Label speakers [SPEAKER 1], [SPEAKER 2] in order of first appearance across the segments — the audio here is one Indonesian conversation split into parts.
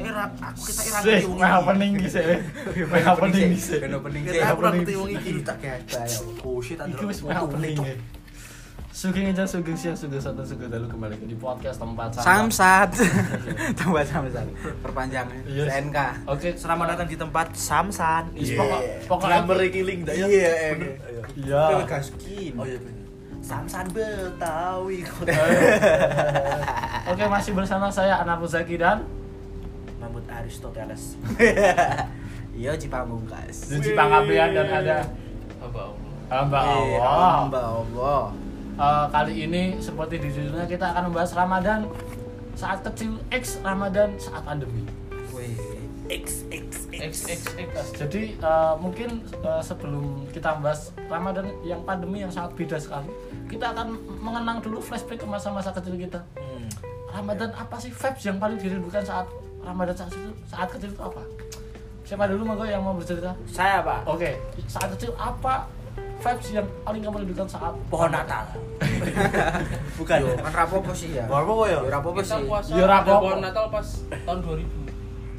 [SPEAKER 1] ngarap aku kita kira
[SPEAKER 2] Sih, may happening di sini. May happening di sini.
[SPEAKER 3] Kena pening sih.
[SPEAKER 1] kita kurang
[SPEAKER 2] happening.
[SPEAKER 1] ketiwong iki tak kata ya oh shit
[SPEAKER 2] Iki
[SPEAKER 1] ada
[SPEAKER 2] wis may happening. ya. Sugeng aja sugeng siang sugeng satu sugeng dalu kembali di podcast tempat sampah.
[SPEAKER 3] Samsat. Tambah samsat. Perpanjangan.
[SPEAKER 2] Yes.
[SPEAKER 3] SNK.
[SPEAKER 2] Oke,
[SPEAKER 1] eh. selamat datang di tempat Samsan
[SPEAKER 2] Is,
[SPEAKER 1] Iya.
[SPEAKER 2] pokok- pokoknya-
[SPEAKER 1] Drummer iki link dah ya
[SPEAKER 3] Iya,
[SPEAKER 1] Bener.
[SPEAKER 3] iya.
[SPEAKER 1] Ayo.
[SPEAKER 2] Iya.
[SPEAKER 1] oh iya bener Samsan Betawi
[SPEAKER 2] Oke, masih bersama saya Ana Zaki dan
[SPEAKER 1] Mahmud Aristoteles
[SPEAKER 3] Iya, Cipamungkas.
[SPEAKER 2] Zuji Pangabean dan ada
[SPEAKER 4] Hamba Allah.
[SPEAKER 2] Hamba
[SPEAKER 3] Eh,
[SPEAKER 2] Allah.
[SPEAKER 3] Mbak Allah.
[SPEAKER 2] Eh, kali ini seperti di judulnya kita akan membahas Ramadan saat kecil X Ramadan saat pandemi.
[SPEAKER 3] Wih.
[SPEAKER 1] X X
[SPEAKER 4] X X X.
[SPEAKER 2] Jadi eh, mungkin eh, sebelum kita membahas Ramadan yang pandemi yang sangat beda sekali, kita akan mengenang dulu flashback ke masa-masa kecil kita.
[SPEAKER 5] Hmm.
[SPEAKER 2] Ramadan apa sih vibes yang paling dirindukan saat Ramadan saat itu saat kecil itu apa? Siapa dulu monggo yang mau bercerita?
[SPEAKER 1] saya pak
[SPEAKER 2] Oke, saat kecil apa vibes yang paling kamu rindukan saat
[SPEAKER 1] pohon Natal
[SPEAKER 3] Bukan. Yo, kan rapopo sih ya.
[SPEAKER 1] Pohon apa ya
[SPEAKER 3] Yo, Iya, rapopo
[SPEAKER 4] Kita
[SPEAKER 3] sih.
[SPEAKER 4] puasa
[SPEAKER 2] Ya,
[SPEAKER 4] ada
[SPEAKER 2] rapopo.
[SPEAKER 4] pohon Natal pas tahun
[SPEAKER 1] Aku
[SPEAKER 4] 2000.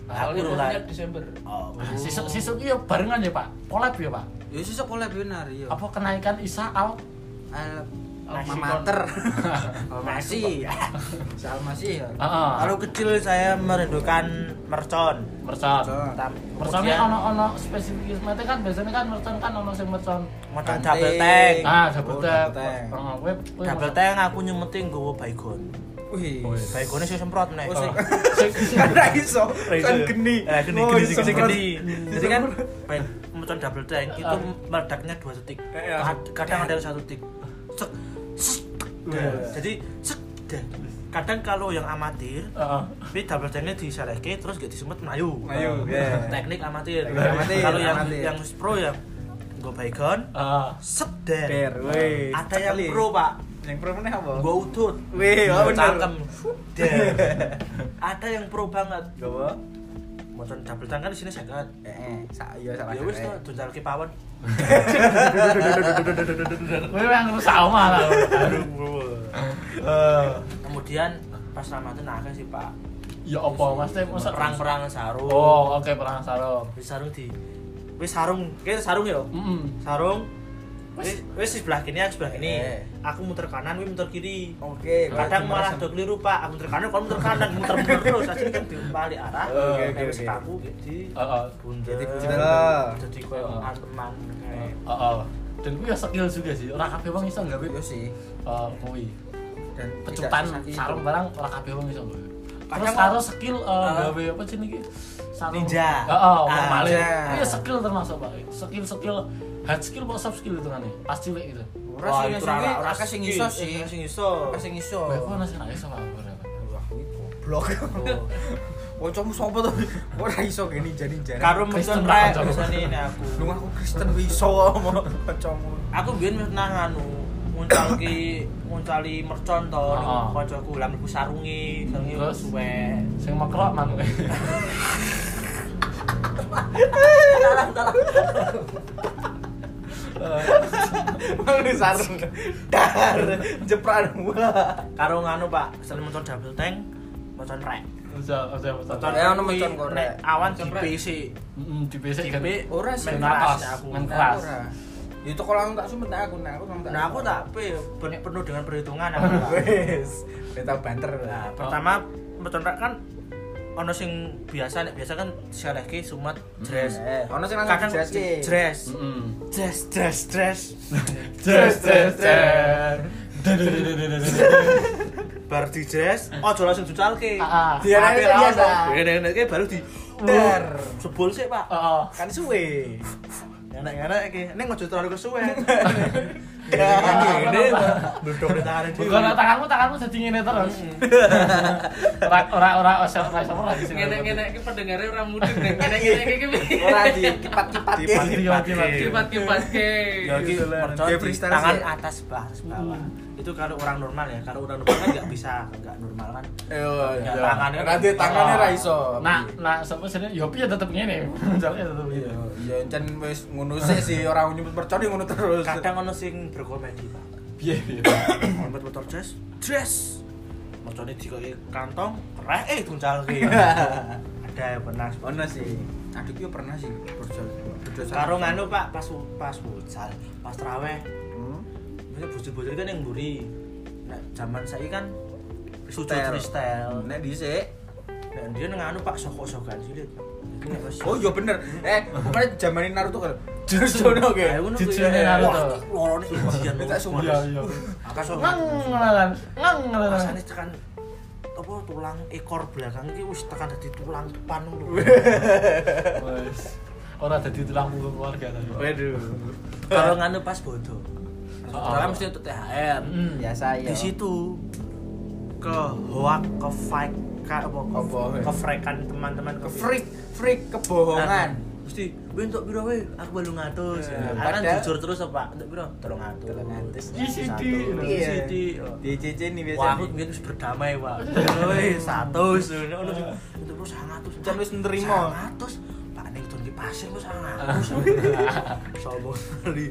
[SPEAKER 4] Soalnya
[SPEAKER 1] dulu
[SPEAKER 4] puasanya
[SPEAKER 1] lah.
[SPEAKER 4] Desember.
[SPEAKER 1] oh
[SPEAKER 2] Nah, sisuk sisuk iya barengan ya pak, collab ya pak.
[SPEAKER 3] Yo sesuk oleh benar yo.
[SPEAKER 2] Apa kenaikan Isa al?
[SPEAKER 3] Eh, Alma
[SPEAKER 4] Lexicon.
[SPEAKER 3] mater. Almasi. Salmasi ya.
[SPEAKER 2] Heeh.
[SPEAKER 5] Kalau kecil saya merindukan mercon.
[SPEAKER 2] Mercon.
[SPEAKER 3] Mercon.
[SPEAKER 5] Tam-
[SPEAKER 2] Merconnya
[SPEAKER 5] kemudian
[SPEAKER 2] ono ono spesifik kan biasanya kan mercon kan ono sing mercon.
[SPEAKER 5] mercon
[SPEAKER 3] Banteng.
[SPEAKER 5] double tank.
[SPEAKER 2] Ah, double
[SPEAKER 3] Oh,
[SPEAKER 2] tap.
[SPEAKER 3] double tap.
[SPEAKER 2] Heeh, kowe kowe
[SPEAKER 5] Double
[SPEAKER 2] mercon.
[SPEAKER 5] tank aku nyumetin gue baygon.
[SPEAKER 3] Wih.
[SPEAKER 2] Oh, iya.
[SPEAKER 5] Baygonnya saya semprot nih.
[SPEAKER 3] Oh, sing-
[SPEAKER 2] Sing-
[SPEAKER 3] Kan ra iso. Kan geni.
[SPEAKER 5] Eh, geni,
[SPEAKER 3] Oh,
[SPEAKER 5] geni,
[SPEAKER 3] iso
[SPEAKER 5] geni,
[SPEAKER 3] semprot.
[SPEAKER 5] geni. Jadi kan baik, mercon double tank
[SPEAKER 2] Ah.
[SPEAKER 5] itu meledaknya dua detik.
[SPEAKER 3] Eh, iya.
[SPEAKER 5] Kad- Kadang ada yang satu detik. Cek, sek, dah. Jadi cek, dah. kadang kalau yang amatir
[SPEAKER 2] Heeh.
[SPEAKER 5] tapi double tanknya diselehke terus gak disempat melayu
[SPEAKER 3] Melayu,
[SPEAKER 5] Nah,
[SPEAKER 3] iya.
[SPEAKER 5] teknik amatir
[SPEAKER 3] Teknik amatir,
[SPEAKER 5] kalau yang
[SPEAKER 3] amatir.
[SPEAKER 5] yang pro ya gue baygon
[SPEAKER 2] Ah.
[SPEAKER 5] seder
[SPEAKER 3] Der, wih.
[SPEAKER 5] ada yang pro pak
[SPEAKER 3] Yang pro meneh apa?
[SPEAKER 5] gue utut
[SPEAKER 3] Wih, oh bener.
[SPEAKER 5] Cangkem. Der. ada yang pro banget
[SPEAKER 3] Gowo.
[SPEAKER 5] motor double tank kan di sini sekat
[SPEAKER 3] Heeh. Sak yo sak.
[SPEAKER 5] ya wis tuh dunjal ke pawon
[SPEAKER 2] Kowe yang rusak omah lah.
[SPEAKER 5] kemudian pas ramadan akeh sih pak
[SPEAKER 2] Ya apa maksudnya masa
[SPEAKER 5] perang-perang sarung
[SPEAKER 2] Oh, oke perang sarung.
[SPEAKER 5] wis sarung di wis sarung kayak sarung ya
[SPEAKER 2] Heeh.
[SPEAKER 5] sarung wis wis sebelah kini aku sebelah kini
[SPEAKER 3] Eh.
[SPEAKER 5] aku muter kanan wis muter kiri
[SPEAKER 3] Oke,
[SPEAKER 5] kadang malah do keliru pak aku muter kanan kalau muter kanan muter muter terus aja kan balik arah
[SPEAKER 3] Oke, oke,
[SPEAKER 5] Nek wis
[SPEAKER 3] oke.
[SPEAKER 5] kaku kayak di
[SPEAKER 2] Heeh.
[SPEAKER 5] bundel
[SPEAKER 3] Jadi bundel.
[SPEAKER 5] jadi koyo
[SPEAKER 2] Heeh.
[SPEAKER 5] anteman kayak.
[SPEAKER 2] Heeh. Dan kuwi ya skill juga sih. Ora kabeh wong iso nggawe
[SPEAKER 3] Yo sih.
[SPEAKER 2] eh kuwi.
[SPEAKER 3] Dan
[SPEAKER 2] pecutan
[SPEAKER 3] tidak sesakit.
[SPEAKER 2] sarung barang ora kabeh wong iso. Terus
[SPEAKER 5] Iya, Kadang
[SPEAKER 2] karo skill eh,
[SPEAKER 5] Ah.
[SPEAKER 2] gawe apa sih niki? Sarung
[SPEAKER 5] Ninja.
[SPEAKER 2] Heeh,
[SPEAKER 5] Ah,
[SPEAKER 2] male.
[SPEAKER 3] ninja.
[SPEAKER 2] Iya skill termasuk, Pak. Skill-skill hard skill apa soft skill itu kan ya? Pas cilik itu.
[SPEAKER 3] Ora
[SPEAKER 5] Wah,
[SPEAKER 3] sih,
[SPEAKER 5] itu
[SPEAKER 3] sing
[SPEAKER 5] rara-
[SPEAKER 3] ora sing iso sih.
[SPEAKER 5] eh, Ora sing iso
[SPEAKER 3] Ora sing iso.
[SPEAKER 5] Oh.
[SPEAKER 2] Kowe kok nasi ra iso Pak, ora.
[SPEAKER 3] Blok. Kancamu sapa to? Ora iso gini jadi jaran.
[SPEAKER 5] karo mesen
[SPEAKER 2] Kristen tak
[SPEAKER 5] rek
[SPEAKER 2] kocok.
[SPEAKER 5] mesen ini aku
[SPEAKER 3] Lu aku Kristen iso ngomong kancamu.
[SPEAKER 5] aku biyen pernah anu nguncal ki nguncali mercon to ning
[SPEAKER 2] Heeh.
[SPEAKER 5] kancaku lah mlebu sarunge sarunge
[SPEAKER 2] Terus?
[SPEAKER 5] suwe
[SPEAKER 2] Sing mekrok man kowe.
[SPEAKER 3] Mang sarung. Dar, jepran. Wah.
[SPEAKER 5] karo nganu pak selain motor double tank motor rek
[SPEAKER 2] Bisa, bisa, bisa.
[SPEAKER 5] motor
[SPEAKER 3] Eh, ono motor kok
[SPEAKER 5] nek
[SPEAKER 3] rek.
[SPEAKER 5] awan
[SPEAKER 4] Motor
[SPEAKER 5] di
[SPEAKER 4] rek.
[SPEAKER 5] PC
[SPEAKER 2] Heeh, di basic kan.
[SPEAKER 5] GB
[SPEAKER 3] Ora sih.
[SPEAKER 5] main
[SPEAKER 2] Main
[SPEAKER 5] keras
[SPEAKER 2] atas.
[SPEAKER 5] ya aku
[SPEAKER 2] Main keras.
[SPEAKER 3] Keras. Ya, Itu kalau aku tak sumpet nah aku nah aku kamu
[SPEAKER 5] nah aku tak pe- ben- penuh dengan perhitungan aku Pak.
[SPEAKER 3] Wes. Kita banter
[SPEAKER 5] nah
[SPEAKER 3] lah.
[SPEAKER 5] pertama motor rek kan ono sing biasa nek biasa kan diselehke sumat dress
[SPEAKER 3] Eh, ono sing langsung Hmm.
[SPEAKER 5] kadang
[SPEAKER 3] dijelaske.
[SPEAKER 5] dress
[SPEAKER 2] Heeh.
[SPEAKER 5] dress dress dress
[SPEAKER 2] Ces ces ces.
[SPEAKER 5] bar di dress ojo langsung jucalke
[SPEAKER 2] Heeh.
[SPEAKER 3] Dia
[SPEAKER 5] Sampai
[SPEAKER 3] rasa biasa.
[SPEAKER 5] rawan, enek-eneknya baru di
[SPEAKER 3] Dar.
[SPEAKER 5] sebol sih pak
[SPEAKER 2] Heeh.
[SPEAKER 3] Kan suwe.
[SPEAKER 5] enak-enak iki ning ojo terlalu Iya, kesuwen
[SPEAKER 3] Dar.
[SPEAKER 5] ini duduk di tangan dhewe.
[SPEAKER 2] Bukan tanganmu tanganmu jadi ngene terus. Ora ora ora ora ora ora ora di sini.
[SPEAKER 4] Ngenek-ngenek iki pendengarnya ora mudeng
[SPEAKER 1] Iya.
[SPEAKER 4] nek ngenek-ngenek iki
[SPEAKER 5] Nah,
[SPEAKER 3] Ora di kipat-kipat.
[SPEAKER 4] kipat-kipat ke.
[SPEAKER 1] Iya,
[SPEAKER 5] Ya, iki mercon
[SPEAKER 3] Dia
[SPEAKER 5] di
[SPEAKER 3] Iya, freestyle
[SPEAKER 5] tangan
[SPEAKER 3] sih. Hmm.
[SPEAKER 5] atas bawah atas bawah itu kalau orang normal ya kalau orang normal kan nggak bisa nggak normal kan Ya, tangannya.
[SPEAKER 3] Nanti tangannya ra iso.
[SPEAKER 2] Nah, nah sampe sini yo piye tetep ngene. Jalannya tetep
[SPEAKER 3] Iya,
[SPEAKER 2] ngene.
[SPEAKER 3] iya encen wis ngono sih sih ora nyebut percaya ngono terus.
[SPEAKER 5] kadang ono sing berkomedi pak
[SPEAKER 2] Piye piye.
[SPEAKER 5] Motor motor dress dress merconnya di kantong kerek eh tuncal ada pernah
[SPEAKER 3] ono sih adikku pernah sih berjalan berdosa
[SPEAKER 5] karo nganu pak pas pas futsal pas traweh
[SPEAKER 3] Hmm.
[SPEAKER 5] Maksudnya bocil-bocil kan yang buri nah zaman saya kan sudah freestyle
[SPEAKER 3] nek dhisik
[SPEAKER 5] nah dia nganu pak sokok-sokan sulit
[SPEAKER 3] oh iya bener eh kemarin zaman ini Naruto kan Jutsu no ge
[SPEAKER 2] Jutsu no Naruto.
[SPEAKER 5] lorone ujian
[SPEAKER 3] Tak sumpah.
[SPEAKER 2] iya iya
[SPEAKER 5] akan sokan
[SPEAKER 2] ngengelalan ngengelalan
[SPEAKER 5] rasanya tekan apa tulang ekor belakang ini wis tekan dari tulang depan lho
[SPEAKER 2] wes ora dadi tulang punggung keluarga tadi
[SPEAKER 5] waduh kalau nganu pas bodoh
[SPEAKER 2] Ah.
[SPEAKER 3] Kalau mesti untuk THR
[SPEAKER 2] Hmm.
[SPEAKER 3] biasa
[SPEAKER 5] di
[SPEAKER 3] ya
[SPEAKER 5] situ ke hoak ke fight ke apa
[SPEAKER 3] Apa,
[SPEAKER 5] ke,
[SPEAKER 3] weh?
[SPEAKER 5] ke frekan teman-teman Nah,
[SPEAKER 3] ke freak freak kebohongan
[SPEAKER 5] kan. mesti gue untuk biro weh aku belum ngatus
[SPEAKER 3] Eh,
[SPEAKER 5] karena
[SPEAKER 3] padahal-
[SPEAKER 5] jujur terus apa untuk biro tolong ngatus
[SPEAKER 3] Tolong ngatus.
[SPEAKER 2] Di sini.
[SPEAKER 5] Satu. di
[SPEAKER 3] Iya.
[SPEAKER 5] sini oh.
[SPEAKER 3] di cici nih
[SPEAKER 5] Wah, aku
[SPEAKER 3] biasanya
[SPEAKER 5] mungkin harus berdamai, Pak. Woi, satu, sudah, udah, itu terus sangatus.
[SPEAKER 3] Jan wis nerima.
[SPEAKER 5] Sangatus, Pak Neng tuh di pasir lu sangatus. Sombong sekali.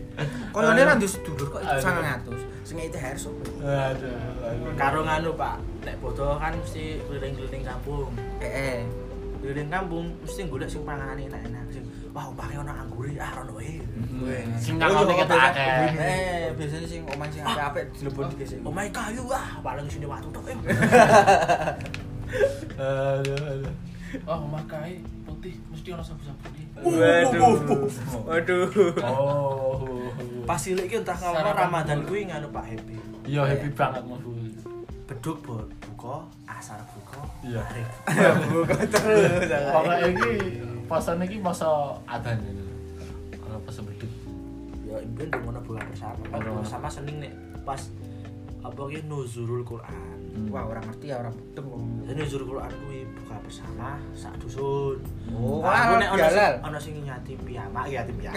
[SPEAKER 3] kalau ini nanti sedulur kok
[SPEAKER 2] Aduh.
[SPEAKER 3] sangat ngatus sengaja THR sopo
[SPEAKER 2] aduh aduh.
[SPEAKER 5] Karo nganu, Pak. Nek bodoh kan mesti keliling-keliling kampung.
[SPEAKER 3] eh eh
[SPEAKER 5] Keliling kampung mesti golek sing panganan enak-enak. Sing wah, umpamane ono anggure, ah rono wae.
[SPEAKER 2] sing
[SPEAKER 3] Oh,
[SPEAKER 2] nang
[SPEAKER 3] iya,
[SPEAKER 2] ngono
[SPEAKER 3] kok
[SPEAKER 2] kita
[SPEAKER 3] biasa-
[SPEAKER 2] akeh
[SPEAKER 3] eh biasanya sing oman sing apik-apik dilebon digesek
[SPEAKER 5] Oh my kayu ah, paling sini watu tok. eh.
[SPEAKER 2] aduh aduh
[SPEAKER 4] oh makai putih mesti orang sabu-sabu nih
[SPEAKER 3] Waduh. Waduh.
[SPEAKER 2] oh
[SPEAKER 5] Pas cilik iki entah kenapa
[SPEAKER 4] Sarapan
[SPEAKER 5] Ramadan
[SPEAKER 4] dulu.
[SPEAKER 5] kuwi nganu Pak Happy.
[SPEAKER 2] iya happy banget mau
[SPEAKER 5] Beduk bu- buka, asar buka,
[SPEAKER 2] Iya.
[SPEAKER 5] arif.
[SPEAKER 3] Buka terus.
[SPEAKER 2] Pokoknya ini pasan ini masa adan ini. Kalau pas beduk.
[SPEAKER 5] ya impian tuh ngono bulan bersama kan
[SPEAKER 2] Bener.
[SPEAKER 5] bulan bersama seneng nek pas apa ki nuzulul Quran
[SPEAKER 3] Wah, orang ngerti ya orang betul.
[SPEAKER 5] jadi nuzulul Quran kuwi buka bersama sak dusun Aku
[SPEAKER 3] Oh, wah,
[SPEAKER 5] nek ono
[SPEAKER 3] jalan.
[SPEAKER 5] sing- ono sing yatim piama ya yatim piama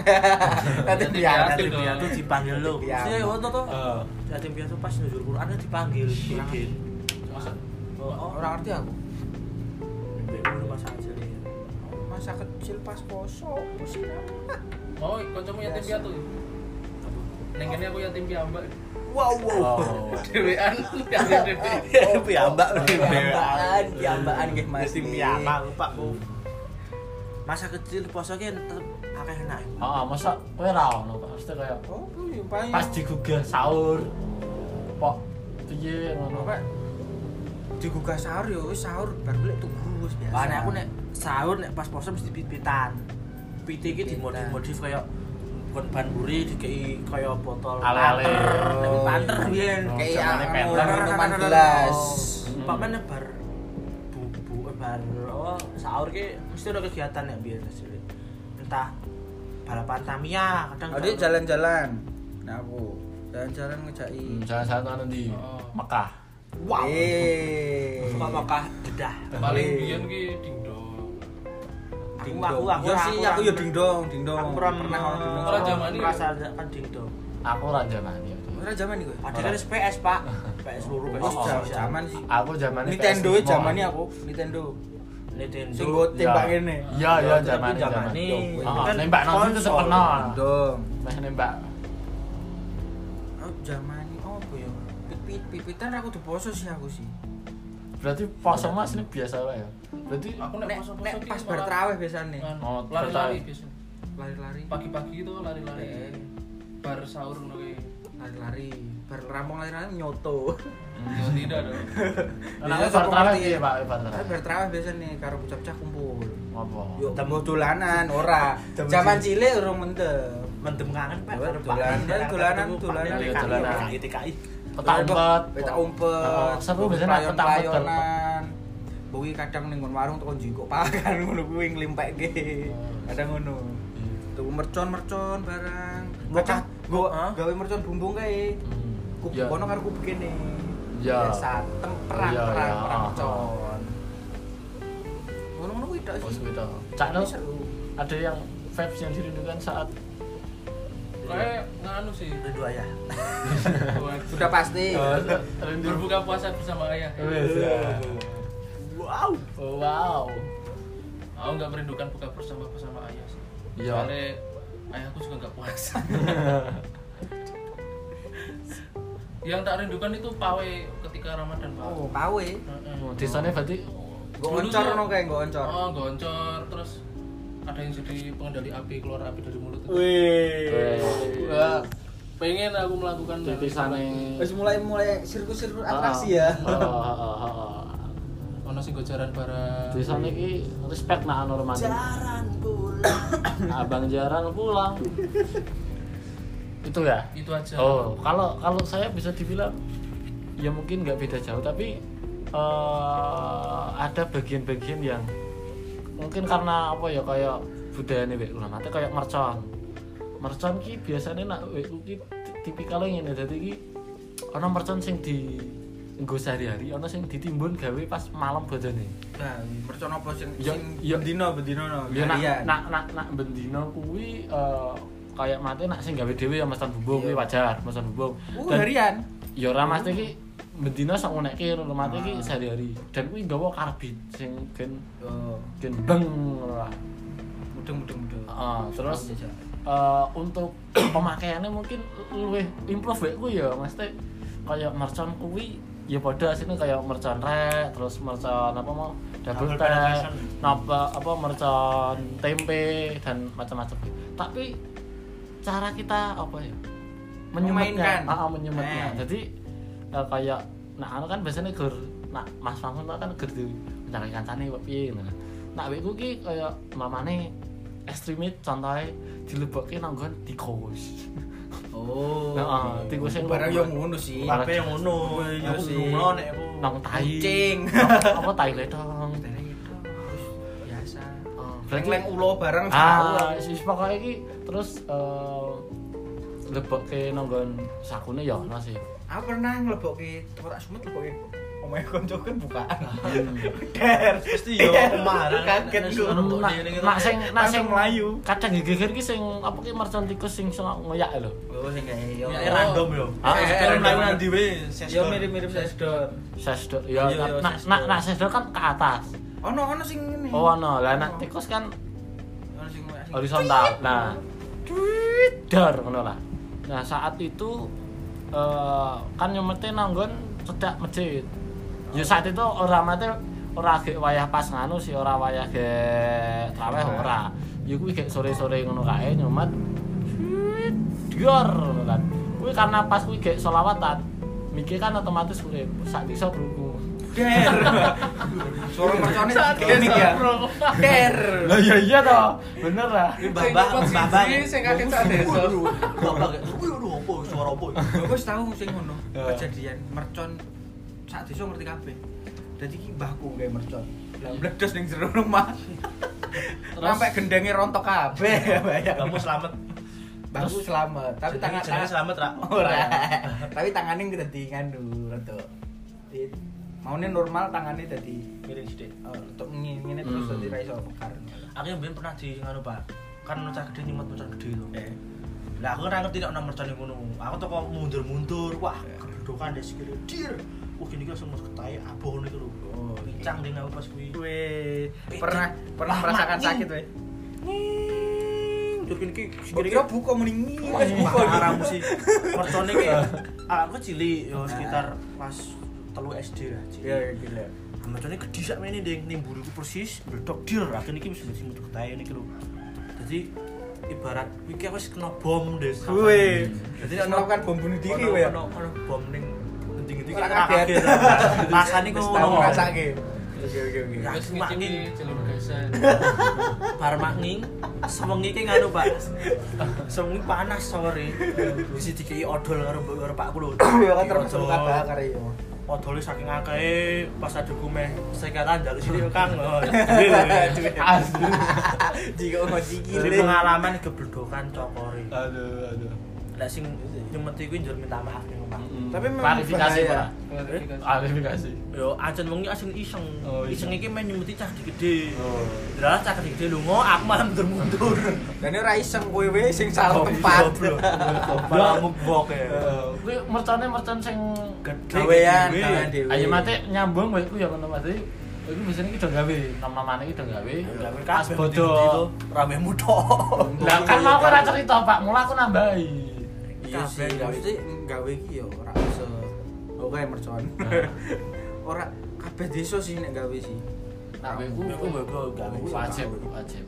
[SPEAKER 4] Nanti
[SPEAKER 3] Nanti biar
[SPEAKER 5] yatim
[SPEAKER 4] Yatim
[SPEAKER 5] piama
[SPEAKER 4] dong.
[SPEAKER 5] tuh dipanggil lo
[SPEAKER 3] Yatim piama.
[SPEAKER 5] maksudnya waktu tuh
[SPEAKER 2] Eh,
[SPEAKER 5] yatim piama tuh pas nuzulul Quran tuh dipanggil dipanggil
[SPEAKER 2] masa
[SPEAKER 5] oh
[SPEAKER 3] Orang ngerti aku.
[SPEAKER 5] orang rumah saja nih
[SPEAKER 3] Masa kecil pas poso, poso.
[SPEAKER 4] oh kancamu yatim
[SPEAKER 1] Iya,
[SPEAKER 4] piatu neng kene aku yatim piambak
[SPEAKER 3] Wow, wow.
[SPEAKER 2] Oh.
[SPEAKER 4] dewean yatim piambak
[SPEAKER 5] piama
[SPEAKER 3] Piambaan, piambaan nggih Mas.
[SPEAKER 5] yatim piama lupa Bu. masa kecil poso ki tetep akeh enak
[SPEAKER 2] Ah, masa kowe ra ono Pak? Mesti kaya
[SPEAKER 3] Oh, iya, paling
[SPEAKER 2] pas digugah sahur. Pok piye ngono.
[SPEAKER 3] apa? Digugah sahur ya wis sahur bar balik tuku wis biasa.
[SPEAKER 5] Lah nek aku nek sahur nek pas puasa mesti pit-pitan. Pite iki
[SPEAKER 3] Pit-pitan.
[SPEAKER 5] dimodif-modif kaya bukan ban buri dikei kaya botol
[SPEAKER 2] Ale-ale.
[SPEAKER 5] Nek panter biyen.
[SPEAKER 2] Oh,
[SPEAKER 3] kayak
[SPEAKER 2] Zamannya
[SPEAKER 3] yang
[SPEAKER 2] penter.
[SPEAKER 3] minuman gelas.
[SPEAKER 2] Hmm.
[SPEAKER 5] Pak mana bar bubu eh, bar oh, sahur ki mesti ada kegiatan ya biyen hasilnya. Entah balapan Tamiya kadang
[SPEAKER 3] Oh, dia jalan-jalan. Nah, aku jalan-jalan ngejaki.
[SPEAKER 2] Hmm, Jangan satu anu di
[SPEAKER 4] Oh.
[SPEAKER 2] Mekah.
[SPEAKER 5] wow.
[SPEAKER 3] Eh.
[SPEAKER 5] Suka Mekah dedah.
[SPEAKER 4] paling
[SPEAKER 1] Iya.
[SPEAKER 4] biyen ki dingdong
[SPEAKER 5] Aku aku aku
[SPEAKER 3] ya sih aku ya dingdong dingdong
[SPEAKER 5] Aku
[SPEAKER 3] pernah orang dingdong
[SPEAKER 4] Orang
[SPEAKER 5] zaman
[SPEAKER 4] zaman
[SPEAKER 5] ini
[SPEAKER 4] ini. ya?
[SPEAKER 5] merasakan dingdong.
[SPEAKER 2] Aku ra jamani.
[SPEAKER 3] Orang zaman iku ya?
[SPEAKER 5] Padahal kan PS, Pak. PS loro PS.
[SPEAKER 3] Wis
[SPEAKER 5] bisa.
[SPEAKER 3] zaman sih
[SPEAKER 2] Aku jamane
[SPEAKER 3] Nintendo
[SPEAKER 2] PS5.
[SPEAKER 3] zamane aku Nintendo sing
[SPEAKER 5] Nintendo.
[SPEAKER 3] gue tembak Iya.
[SPEAKER 2] Iya.
[SPEAKER 3] ngene
[SPEAKER 2] Iya, iya
[SPEAKER 5] jamane.
[SPEAKER 2] jamane jamane.
[SPEAKER 5] Yo,
[SPEAKER 2] Heeh,
[SPEAKER 5] kan
[SPEAKER 2] ah, nembak nanti tetep
[SPEAKER 5] konsol.
[SPEAKER 2] kena.
[SPEAKER 3] dong
[SPEAKER 2] Meh nembak.
[SPEAKER 3] aku zaman apa ya pipit pipitan aku diposo sih aku sih
[SPEAKER 2] Berarti poso Mas ini biasa wae ya. Berarti
[SPEAKER 4] aku nek
[SPEAKER 3] nek
[SPEAKER 4] poso-poso
[SPEAKER 3] nek
[SPEAKER 4] ki
[SPEAKER 3] pas bar
[SPEAKER 4] malah-
[SPEAKER 3] traweh biasane
[SPEAKER 5] Kan.
[SPEAKER 2] Oh,
[SPEAKER 4] Anu, lari-lari
[SPEAKER 2] tertarik.
[SPEAKER 4] biasanya
[SPEAKER 3] lari-lari
[SPEAKER 4] pagi-pagi itu lari-lari
[SPEAKER 3] Eh.
[SPEAKER 4] bar sahur ngono ki
[SPEAKER 3] lari-lari bar rampung lari-lari nyoto Hmm.
[SPEAKER 4] Ya, tidak dong
[SPEAKER 2] Nah,
[SPEAKER 3] Biasanya
[SPEAKER 2] bar
[SPEAKER 3] sopo
[SPEAKER 2] traweh
[SPEAKER 3] ngerti?
[SPEAKER 2] piye, Pak? Bar traweh.
[SPEAKER 3] Tapi bar traweh biasane karo bocah-bocah kumpul
[SPEAKER 2] Ngopo?
[SPEAKER 3] yo temu dolanan ora zaman cilik urung mendem
[SPEAKER 5] mendem kangen Pak.
[SPEAKER 3] Dolanan,
[SPEAKER 5] Pak Neng,
[SPEAKER 3] dolanan,
[SPEAKER 5] Pak Neng,
[SPEAKER 3] dolanan,
[SPEAKER 5] Pak Neng,
[SPEAKER 2] iya, dolanan.
[SPEAKER 5] TKI, TKI.
[SPEAKER 2] Petak umpet.
[SPEAKER 3] Petak
[SPEAKER 2] Oh,
[SPEAKER 3] umpet.
[SPEAKER 2] seru biasanya petak umpet, kan?
[SPEAKER 3] Pelayonan. Bowi kadang ning nggon warung tukon jiko pakan ngono kuwi nglimpekke. Kadang ngono. Tuku mercon-mercon barang.
[SPEAKER 5] Mbok
[SPEAKER 3] Kadang
[SPEAKER 5] ka-
[SPEAKER 3] nggo
[SPEAKER 5] Hah?
[SPEAKER 3] gawe mercon bumbung kae.
[SPEAKER 2] Hmm.
[SPEAKER 3] Kubu
[SPEAKER 2] Ya.
[SPEAKER 3] kono karo kubu kene.
[SPEAKER 2] Ya.
[SPEAKER 3] Satem perang
[SPEAKER 2] Ya, ya.
[SPEAKER 3] perang perang
[SPEAKER 2] Ah.
[SPEAKER 3] mercon. Ngono-ngono kuwi tok
[SPEAKER 2] Oh,
[SPEAKER 3] sih.
[SPEAKER 2] sepeda. Cak Nel,
[SPEAKER 3] Seru.
[SPEAKER 2] ada yang vibes yang dirindukan saat
[SPEAKER 4] kayak nganu sih
[SPEAKER 5] Ada dua ya.
[SPEAKER 3] Sudah pasti. Oh,
[SPEAKER 2] eh, rindu
[SPEAKER 4] berbuka puasa bersama ayah
[SPEAKER 3] Iya.
[SPEAKER 2] Wes, ya.
[SPEAKER 5] Wow.
[SPEAKER 2] Oh, wow
[SPEAKER 4] aku nggak merindukan buka bersama bersama ayah sih
[SPEAKER 2] Iya.
[SPEAKER 4] soalnya ayahku juga nggak puasa yang tak rindukan itu pawe ketika ramadan pak
[SPEAKER 3] Oh, pawe.
[SPEAKER 4] Heeh.
[SPEAKER 2] desanya Hmm, berarti
[SPEAKER 3] Gue
[SPEAKER 4] Dulu
[SPEAKER 3] oncor
[SPEAKER 4] tuh-
[SPEAKER 3] no kayak gue oncor.
[SPEAKER 4] Oh, goncor terus ada yang jadi pengendali api keluar api dari mulut. itu.
[SPEAKER 3] Wih.
[SPEAKER 4] Wah, pengen aku melakukan hal
[SPEAKER 2] Jadi
[SPEAKER 4] itu.
[SPEAKER 2] sana
[SPEAKER 3] Terus mulai mulai sirkus-sirkus atraksi ya.
[SPEAKER 4] Ono sing gojaran barang.
[SPEAKER 2] Di sana ki respect nah anu romantis.
[SPEAKER 5] jarang pulang
[SPEAKER 2] Abang jarang pulang. Itu ya.
[SPEAKER 4] Itu aja.
[SPEAKER 2] Oh, kalau kalau saya bisa dibilang ya mungkin nggak beda jauh, tapi eh, ada bagian-bagian yang mungkin karena apa ya kayak budaya nih ulama teh kayak mercon. Mercon ki biasanya nak WU ki ti- tipikalnya ngene dadi ki ana mercon sing di nggo sehari-hari, ana sing ditimbun gawe pas malam bojone.
[SPEAKER 3] Nah, mercon apa sih?
[SPEAKER 2] Ya, ya.
[SPEAKER 3] Iya, bendino, bendino no.
[SPEAKER 2] Ya nak
[SPEAKER 3] harian.
[SPEAKER 2] nak nak nak bendino kuwi eh, kayak mati nak sing gawe dhewe ya mestan bumbung kuwi wajar, mestan bumbung.
[SPEAKER 3] Uh,
[SPEAKER 2] Dan-
[SPEAKER 3] harian.
[SPEAKER 2] ya ora mesti iki bendina sak unekke ngono mati iki sehari-hari. Dan kuwi nggawa karbit sing gen
[SPEAKER 3] Oh,
[SPEAKER 2] gen beng ngono lah.
[SPEAKER 3] mudeng mudeng mudeng.
[SPEAKER 2] Ah, terus eh, untuk pemakaiannya mungkin luwih improve bae kuwi ya mesti kayak mercon kuwi ya pada sini kayak mercon rek terus mercon apa mau
[SPEAKER 5] Double
[SPEAKER 2] double teh
[SPEAKER 5] penetration.
[SPEAKER 2] napa apa mercon tempe dan macam-macam tapi cara kita apa ya
[SPEAKER 3] Memainkan.
[SPEAKER 2] menyumetnya ah, ah, menyumetnya
[SPEAKER 3] Eh.
[SPEAKER 2] jadi eh, kayak nah anu kan biasanya ger nah mas Mahmud kan ger di mencari kancane kok piye ngono nah awakku ki kayak mamane ekstremit contohnya dilebokke nang nggon tikus
[SPEAKER 3] Oh.
[SPEAKER 2] Nah, ah, tikus yang
[SPEAKER 3] barang
[SPEAKER 2] luwih.
[SPEAKER 3] yang ngono sih.
[SPEAKER 2] Barang-
[SPEAKER 5] apa yang ngono
[SPEAKER 3] Iya
[SPEAKER 5] aku
[SPEAKER 3] sih.
[SPEAKER 5] belum ngelonek aku
[SPEAKER 2] nang tai
[SPEAKER 3] Kucing.
[SPEAKER 2] nang apa tai ledong
[SPEAKER 3] Barang itu, terus biasa.
[SPEAKER 2] Ah, berarti-
[SPEAKER 3] Leng-leng ulo bareng.
[SPEAKER 2] ah si pokoknya ki terus eh lebokke nang nggon sakune ya ono sih
[SPEAKER 3] Aku pernah ngelebok ke kotak semut lebok ke omahnya konco kan bukaan.
[SPEAKER 5] pasti yo kemarin
[SPEAKER 3] Kaget gua.
[SPEAKER 2] Nak- nak sing nak sing
[SPEAKER 3] Langsung melayu.
[SPEAKER 2] kadang geger ki sing apa ki mercon tikus sing sing ngoyak lho
[SPEAKER 3] Oh, sing kayak yo.
[SPEAKER 5] ya random yo
[SPEAKER 2] Ah,
[SPEAKER 3] eh,
[SPEAKER 5] Sekarang
[SPEAKER 3] random.
[SPEAKER 5] lain nanti weh
[SPEAKER 3] Yo mirip-mirip sesdor.
[SPEAKER 2] sesdo ya
[SPEAKER 5] Iya, iya,
[SPEAKER 2] nak
[SPEAKER 5] sesdo.
[SPEAKER 2] nak nak sesdo kan ke atas
[SPEAKER 3] Ono ono sing ngene.
[SPEAKER 2] oh
[SPEAKER 5] Hmm.
[SPEAKER 2] no lah nak tikus kan
[SPEAKER 3] Ono sing sing-
[SPEAKER 2] horizontal nah dar ngono lah nah saat itu eh, kan nyemete nanggon cedak masjid ya saat itu ora mate ora gek wayah pas nganu sih ora wayah gek traweh ora ya kuwi gek sore-sore ngono kae nyemet dar ngono kan kuwi karena pas kuwi gek selawatan mikir kan otomatis urip sak iso berhubung
[SPEAKER 3] Der. Suara mercone
[SPEAKER 4] Saat ini
[SPEAKER 3] digigit ya.
[SPEAKER 4] bro.
[SPEAKER 3] Der.
[SPEAKER 2] lah iya iya toh bener lah
[SPEAKER 4] Sing
[SPEAKER 5] babak
[SPEAKER 4] dapat
[SPEAKER 5] babak
[SPEAKER 4] siji, sing kaget sak desa.
[SPEAKER 5] babak wih aduh apa suara apa
[SPEAKER 3] Aku wis tau sing ngono.
[SPEAKER 2] Ya.
[SPEAKER 3] Kejadian mercon sak desa ngerti kabeh. Dadi ki mbahku gawe mercon. Lah meledos ning jero rumah. Sampai gendenge rontok kabeh.
[SPEAKER 5] kamu selamat
[SPEAKER 3] Mbahku selamat, tapi
[SPEAKER 5] Jenenge-
[SPEAKER 3] tangan
[SPEAKER 5] jenenge selamat ra
[SPEAKER 3] Ora. Tapi tangane dadi nganu rodok. Di- Maune normal tangannya dadi
[SPEAKER 5] miring sithik
[SPEAKER 3] untuk ngene terus
[SPEAKER 2] Hmm.
[SPEAKER 3] dadi ra iso pekar.
[SPEAKER 5] aku yang biyen pernah di nganu Pak. Kan mercon gede nyemot mercon gede itu.
[SPEAKER 3] Eh.
[SPEAKER 5] Lah aku ora ngerti nek ana mercon yang ngono. Aku tuh kok mundur-mundur, wah
[SPEAKER 3] Eh.
[SPEAKER 5] kedodokan deh sikile dir. Wah gini kan semut ketai aboh ngono iku lho.
[SPEAKER 3] Oh,
[SPEAKER 5] Pincang ding aku pas kuwi.
[SPEAKER 3] Gue pernah pernah
[SPEAKER 5] Lama,
[SPEAKER 3] merasakan
[SPEAKER 5] Ning.
[SPEAKER 3] sakit, weh.
[SPEAKER 5] Dur gini ki
[SPEAKER 3] Gue
[SPEAKER 5] sikile
[SPEAKER 3] kira buka mending
[SPEAKER 5] Wah, sumpah haram sih. Mercon iki aku cilik yo sekitar pas telu SD lah. cilik.
[SPEAKER 3] Ya, gila.
[SPEAKER 5] Merconnya gede sak mene ding ning mburiku persis bledok dir akhirnya iki wis mbek simut ketahe niki lho. Dadi ibarat iki aku wis kena bom des.
[SPEAKER 3] Gue.
[SPEAKER 5] Jadi
[SPEAKER 3] Jadi
[SPEAKER 5] ono-
[SPEAKER 3] melakukan bom bunuh diri, weh.
[SPEAKER 5] Ono ono bom ning penting-penting
[SPEAKER 3] Ora
[SPEAKER 5] ora
[SPEAKER 3] kaget.
[SPEAKER 5] kaget. Rasane kok
[SPEAKER 3] Wis tau
[SPEAKER 5] ngono.
[SPEAKER 3] ngrasake. Oke, oke, oke.
[SPEAKER 5] Ya.
[SPEAKER 4] Wes ngicipi jalur geser.
[SPEAKER 5] Bar makning sewengi ki nganu, Pak. Sewengi panas sore. Wis dikei odol karo mbok- karo Pakku lho.
[SPEAKER 3] Ya kan
[SPEAKER 5] Dikei
[SPEAKER 3] termasuk
[SPEAKER 5] odol.
[SPEAKER 3] kata kare yo.
[SPEAKER 5] Odole saking akeh pas adukku meh sekatan dalu sini Kang.
[SPEAKER 2] asli
[SPEAKER 3] Jika ngoji
[SPEAKER 5] Dari pengalaman gebledokan cokore.
[SPEAKER 2] aduh aduh
[SPEAKER 5] Lah sing nyemeti kuwi njur minta maaf ning Pak.
[SPEAKER 3] Tapi memang
[SPEAKER 2] klarifikasi
[SPEAKER 3] bahaya.
[SPEAKER 2] pak klarifikasi
[SPEAKER 5] Yo ancen wengi asin iseng.
[SPEAKER 2] Oh,
[SPEAKER 5] iseng
[SPEAKER 2] iseng.
[SPEAKER 5] iki main nyemeti cah gede.
[SPEAKER 2] oh
[SPEAKER 5] Dralah cah gede lunga, aku malah mundur-mundur.
[SPEAKER 3] Dan ora iseng kowe weh sing salah tempat.
[SPEAKER 5] Malah mubok ya.
[SPEAKER 2] Eh, kuwi mercone mercon sing
[SPEAKER 5] Gede.
[SPEAKER 3] Gawean,
[SPEAKER 5] gede.
[SPEAKER 3] gawean dhewe.
[SPEAKER 2] ayo mate nyambung kowe ku ya ngono Mas. Jadi, Iku biasanya iki do gawe, nama-namane iki do gawe.
[SPEAKER 5] Gawe
[SPEAKER 2] Pas
[SPEAKER 5] kabeh
[SPEAKER 2] bodo.
[SPEAKER 5] gede-gede tuh, Ramemu tok.
[SPEAKER 2] Lah kan mau ora cerita Pak, mula aku nambahi.
[SPEAKER 3] Iya sih,
[SPEAKER 5] Kabeh,
[SPEAKER 3] mesti gawe iki yo ora iso. Oke, mercon.
[SPEAKER 2] Nah.
[SPEAKER 3] Ora kabeh desa sih nek gawe sih.
[SPEAKER 2] Nah, aku
[SPEAKER 5] Aku mbok gawe
[SPEAKER 2] wajib, wajib.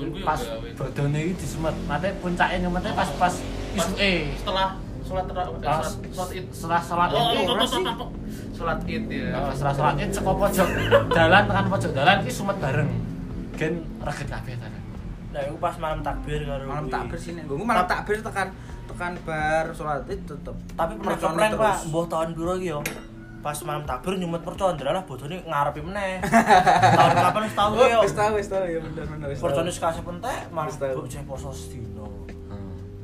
[SPEAKER 4] Dulu
[SPEAKER 2] Pas
[SPEAKER 4] ya, gawe.
[SPEAKER 2] bodone iki disemet, mate puncake nyemetnya pas pas
[SPEAKER 4] eh.
[SPEAKER 2] isuke.
[SPEAKER 4] setelah sholat terawih, eh,
[SPEAKER 2] Pas
[SPEAKER 4] sholat sholat id.
[SPEAKER 2] setelah sholat
[SPEAKER 4] Oh,
[SPEAKER 2] itu,
[SPEAKER 4] oh, oh, oh, oh. sholat id ya.
[SPEAKER 2] Nah, setelah sholat itu saka pojok dalan tekan pojok dalan iki sumet bareng. Gen reget kabeh ta.
[SPEAKER 5] Nah, aku pas malam takbir karo
[SPEAKER 3] malam
[SPEAKER 5] kuwi.
[SPEAKER 3] takbir sih nek malam takbir tekan tekan bar sholat itu tetep
[SPEAKER 5] Tapi pernah
[SPEAKER 3] Mercon
[SPEAKER 5] keprank, Pak.
[SPEAKER 3] terus.
[SPEAKER 5] Mbah tahun piro iki yo. Pas malam takbir nyumet percondra lah bodone ngarepe meneh. Tahun kapan wis tau
[SPEAKER 3] Oh,
[SPEAKER 5] yo.
[SPEAKER 3] wis tahu wis tahu ya bener bener wis tahu.
[SPEAKER 5] Percone sekase pentek, malah
[SPEAKER 3] Wis tau.
[SPEAKER 5] mbok jeh poso sedino.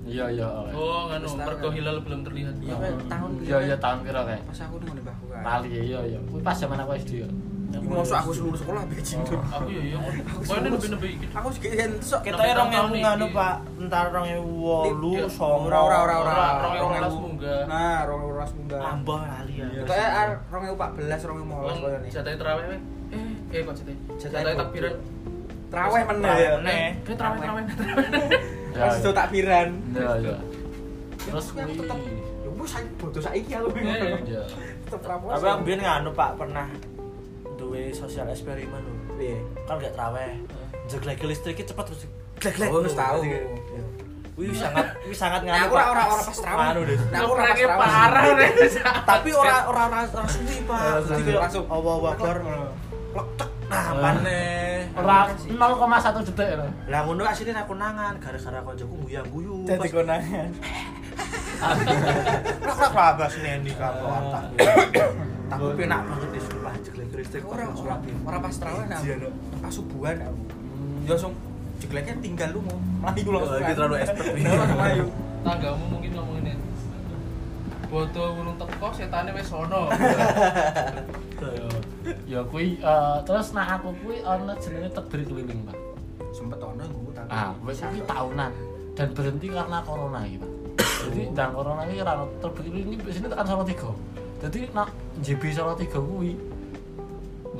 [SPEAKER 2] Iya iya.
[SPEAKER 4] Hmm. Oh, nganu,
[SPEAKER 3] Wis tahu,
[SPEAKER 4] mergo
[SPEAKER 3] kan?
[SPEAKER 4] hilal belum terlihat.
[SPEAKER 3] Iya, Pak, tahun
[SPEAKER 2] Iya iya tahun piro kae?
[SPEAKER 3] Pas aku nunggu mbahku kan.
[SPEAKER 2] Lali iya iya. Kuwi pas zaman aku SD. ya.
[SPEAKER 3] Iku masuk aku seluruh sekolah be Jindo.
[SPEAKER 4] Aku ya iya. Kok ini lebih-lebih gitu.
[SPEAKER 3] Aku sik yen sok
[SPEAKER 5] Kita
[SPEAKER 4] Tapi
[SPEAKER 5] rong
[SPEAKER 4] tahun-tahun
[SPEAKER 5] ewu
[SPEAKER 4] iki-
[SPEAKER 5] nganu, Pak. Entar rong ewu wolu,
[SPEAKER 4] Iya.
[SPEAKER 5] songo.
[SPEAKER 3] ora ora ora ora.
[SPEAKER 4] Rong ewu rolas munggah.
[SPEAKER 3] Nah, 2012 munggah.
[SPEAKER 5] Tambah kali ya.
[SPEAKER 3] Ketoke ar 2014 2015 koyo
[SPEAKER 4] Wong
[SPEAKER 3] ne.
[SPEAKER 4] jatai terawih weh. Eh, eh kok jatai?
[SPEAKER 3] Jatai
[SPEAKER 4] Jatai
[SPEAKER 3] bodho.
[SPEAKER 4] takbiran.
[SPEAKER 3] Traweh meneh
[SPEAKER 5] Traweh
[SPEAKER 3] ya.
[SPEAKER 5] meneh.
[SPEAKER 4] Eh, kayak terawih terawih terawih.
[SPEAKER 2] Ya,
[SPEAKER 3] Wis do
[SPEAKER 2] iya.
[SPEAKER 3] takbiran.
[SPEAKER 2] Iya iya. Terus
[SPEAKER 3] Ya,
[SPEAKER 2] kuwi
[SPEAKER 3] tetep ya wis saiki bodo saiki aku
[SPEAKER 4] Iya, iya.
[SPEAKER 3] bingung.
[SPEAKER 2] Iya.
[SPEAKER 3] Tetep rapopo.
[SPEAKER 5] Tapi aku biyen nganu, Pak, pernah duwe sosial eksperimen lho.
[SPEAKER 3] Piye?
[SPEAKER 5] Kan gak traweh. Jeglek listrik iki cepet terus. Jeglek.
[SPEAKER 3] Oh, wis tahu.
[SPEAKER 5] Wih sangat wih sangat
[SPEAKER 3] Nah,
[SPEAKER 5] nganu.
[SPEAKER 3] aku ora
[SPEAKER 5] Pak.
[SPEAKER 3] ora ora pas traweh.
[SPEAKER 5] Nganu, Des.
[SPEAKER 3] Nah, aku ora pas
[SPEAKER 4] Ngeprank-nya
[SPEAKER 3] traweh.
[SPEAKER 4] parah deh.
[SPEAKER 5] tapi orang orang orang sendiri pak jadi kayak
[SPEAKER 3] Langsung.
[SPEAKER 5] Allah wakbar lektek nah
[SPEAKER 3] Eh.
[SPEAKER 5] panen
[SPEAKER 2] Ora 0,1 detik iya. lho.
[SPEAKER 5] lah ngono asline aku nangan gara-gara kancaku guyang guyu
[SPEAKER 3] Jadi konangan.
[SPEAKER 5] lah lah lah bas neni kamu tak tapi penak banget di sumpah jelek listrik
[SPEAKER 3] Eh. Ora ora ora pas traweh nah.
[SPEAKER 5] Iya, no.
[SPEAKER 3] Pas subuhan aku. Ya langsung jegleknya tinggal lu mau. Melayu langsung.
[SPEAKER 5] Lagi Oh, terlalu expert nih.
[SPEAKER 3] Melayu.
[SPEAKER 4] Tanggamu mungkin ngomongin itu. Bodoh burung teko setannya wis sono.
[SPEAKER 2] Ya kuwi eh, terus nah aku kuwi ana jenenge tebrik keliling, Pak.
[SPEAKER 3] Sempet ono iku tapi.
[SPEAKER 2] Ah, wis iki tahunan dan berhenti karena corona iki, Pak. Jadi dan corona iki ra terbeli ini di sini tekan Solo 3. Jadi nak JB Solo 3 kuwi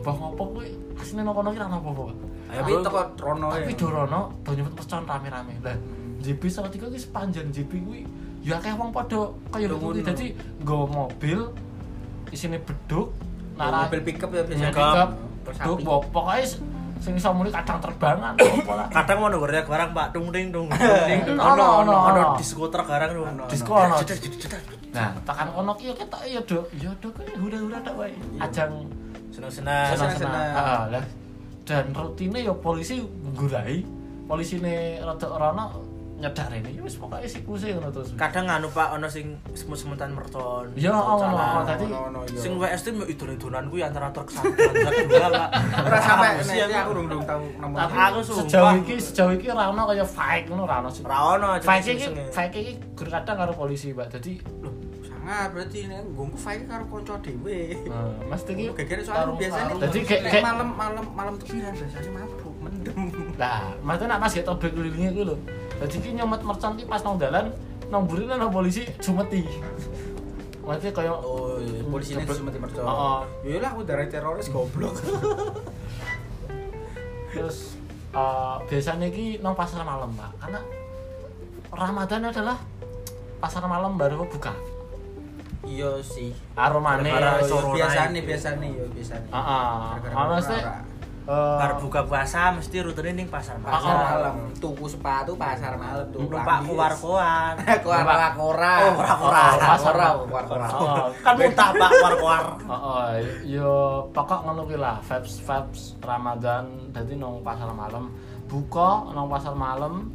[SPEAKER 2] mbah ngopo kuwi asline nang kono iki ra apa-apa, Pak.
[SPEAKER 3] Tapi
[SPEAKER 2] Nah,
[SPEAKER 3] teko rono ya.
[SPEAKER 2] tapi dorono do nyebut pesan rame-rame. Lah, JB Solo 3 iki sepanjang JB kuwi ya akeh wong padha kaya
[SPEAKER 3] Yo,
[SPEAKER 2] ngono.
[SPEAKER 3] ngono.
[SPEAKER 2] Dadi nggawa mobil isine beduk nara-
[SPEAKER 3] mobil pickup ya biasanya.
[SPEAKER 2] Pick up, beduk, wo- pokoknya s- sing iso muni kadang terbangan apa lah.
[SPEAKER 5] kadang mau ngereak orang pak tung ting tung
[SPEAKER 2] Ono,
[SPEAKER 5] ting ono
[SPEAKER 2] ono,
[SPEAKER 5] ono ono
[SPEAKER 2] ono.
[SPEAKER 5] diskoter karang ono
[SPEAKER 2] Disko ono. Nah, tekan ono ki yo ketok yo do, yo do kowe hura-hura tok wae. Ajang
[SPEAKER 5] seneng seneng
[SPEAKER 2] senang-senang.
[SPEAKER 3] senang.
[SPEAKER 2] Heeh, lah. Dan rutine yo polisi nggurai. Polisine rada ora ono nyedak rene. Yo wis pokoke sikuse ngono terus.
[SPEAKER 5] kadang nganu pak ono sing semut-semutan mercon
[SPEAKER 2] Ya
[SPEAKER 5] Calan.
[SPEAKER 2] Allah, tadi
[SPEAKER 3] iya.
[SPEAKER 5] sing
[SPEAKER 3] Nah,
[SPEAKER 5] WS itu idolan-idolan gue antara truk satu dan truk dua pak
[SPEAKER 3] ora sampe
[SPEAKER 5] Apa sih,
[SPEAKER 3] nek ya.
[SPEAKER 5] aku-
[SPEAKER 3] aku urung urung tau nomor.
[SPEAKER 5] Tapi
[SPEAKER 3] ini.
[SPEAKER 5] aku sumpah.
[SPEAKER 2] sejauh iki sejauh iki ora ono kaya fake ngono ora ono. sih.
[SPEAKER 5] Ra ono, jeneng
[SPEAKER 2] Fake iki
[SPEAKER 5] iseng-isenge.
[SPEAKER 2] fake iki gur kadang karo polisi, Pak. Dadi
[SPEAKER 3] Loh, sangat berarti nek nggo file karo kanca dhewe.
[SPEAKER 5] Iya.
[SPEAKER 2] eh, mesti
[SPEAKER 5] Oh,
[SPEAKER 2] ki
[SPEAKER 3] Geger soalnya
[SPEAKER 4] Tarung-
[SPEAKER 3] biasanya
[SPEAKER 4] tarung.
[SPEAKER 2] Jadi
[SPEAKER 3] nek
[SPEAKER 2] kayak- kayak-
[SPEAKER 3] malam malam malam tepiran biasanya mabuk mendem.
[SPEAKER 2] Nah, maksudnya nak pas gitu beli kelilingnya itu loh. Jadi ki nyomet merchant ki pas nang dalan nang buri nang polisi jumeti. Maksudnya kayak
[SPEAKER 3] Oh, polisi
[SPEAKER 2] Cepet.
[SPEAKER 3] nek cuma mercon.
[SPEAKER 2] Heeh.
[SPEAKER 3] Yalah Ya aku dari teroris goblok.
[SPEAKER 2] terus eh, biasanya ki nang pasar malam pak. Karena Ramadan adalah pasar malam baru buka.
[SPEAKER 3] Iya sih. iya,
[SPEAKER 2] Aromane.
[SPEAKER 5] Lebaran
[SPEAKER 2] Heeh.
[SPEAKER 5] iso. Corona
[SPEAKER 3] Biasanya
[SPEAKER 5] itu.
[SPEAKER 3] biasanya ya biasanya.
[SPEAKER 2] Heeh.
[SPEAKER 3] Gara-gara
[SPEAKER 2] Ah, Maksudnya
[SPEAKER 3] ora.
[SPEAKER 2] eh,
[SPEAKER 5] Bar buka puasa mesti rutenya ning pasar
[SPEAKER 3] pasar
[SPEAKER 2] Oh.
[SPEAKER 5] malam.
[SPEAKER 3] malam tuku sepatu pasar malam tuku
[SPEAKER 5] Numpak kuar-kuar.
[SPEAKER 3] kuar kora
[SPEAKER 5] Oh, kuar-kuar.
[SPEAKER 2] Pasar
[SPEAKER 3] kora
[SPEAKER 2] malam.
[SPEAKER 3] kuar kora
[SPEAKER 2] heeh.
[SPEAKER 5] Kan muntah Pak kuar-kuar.
[SPEAKER 2] Oh, yo pokok ngono kuwi lah, vibes vibes Ramadan dadi nang pasar malam. Buka nang pasar malam.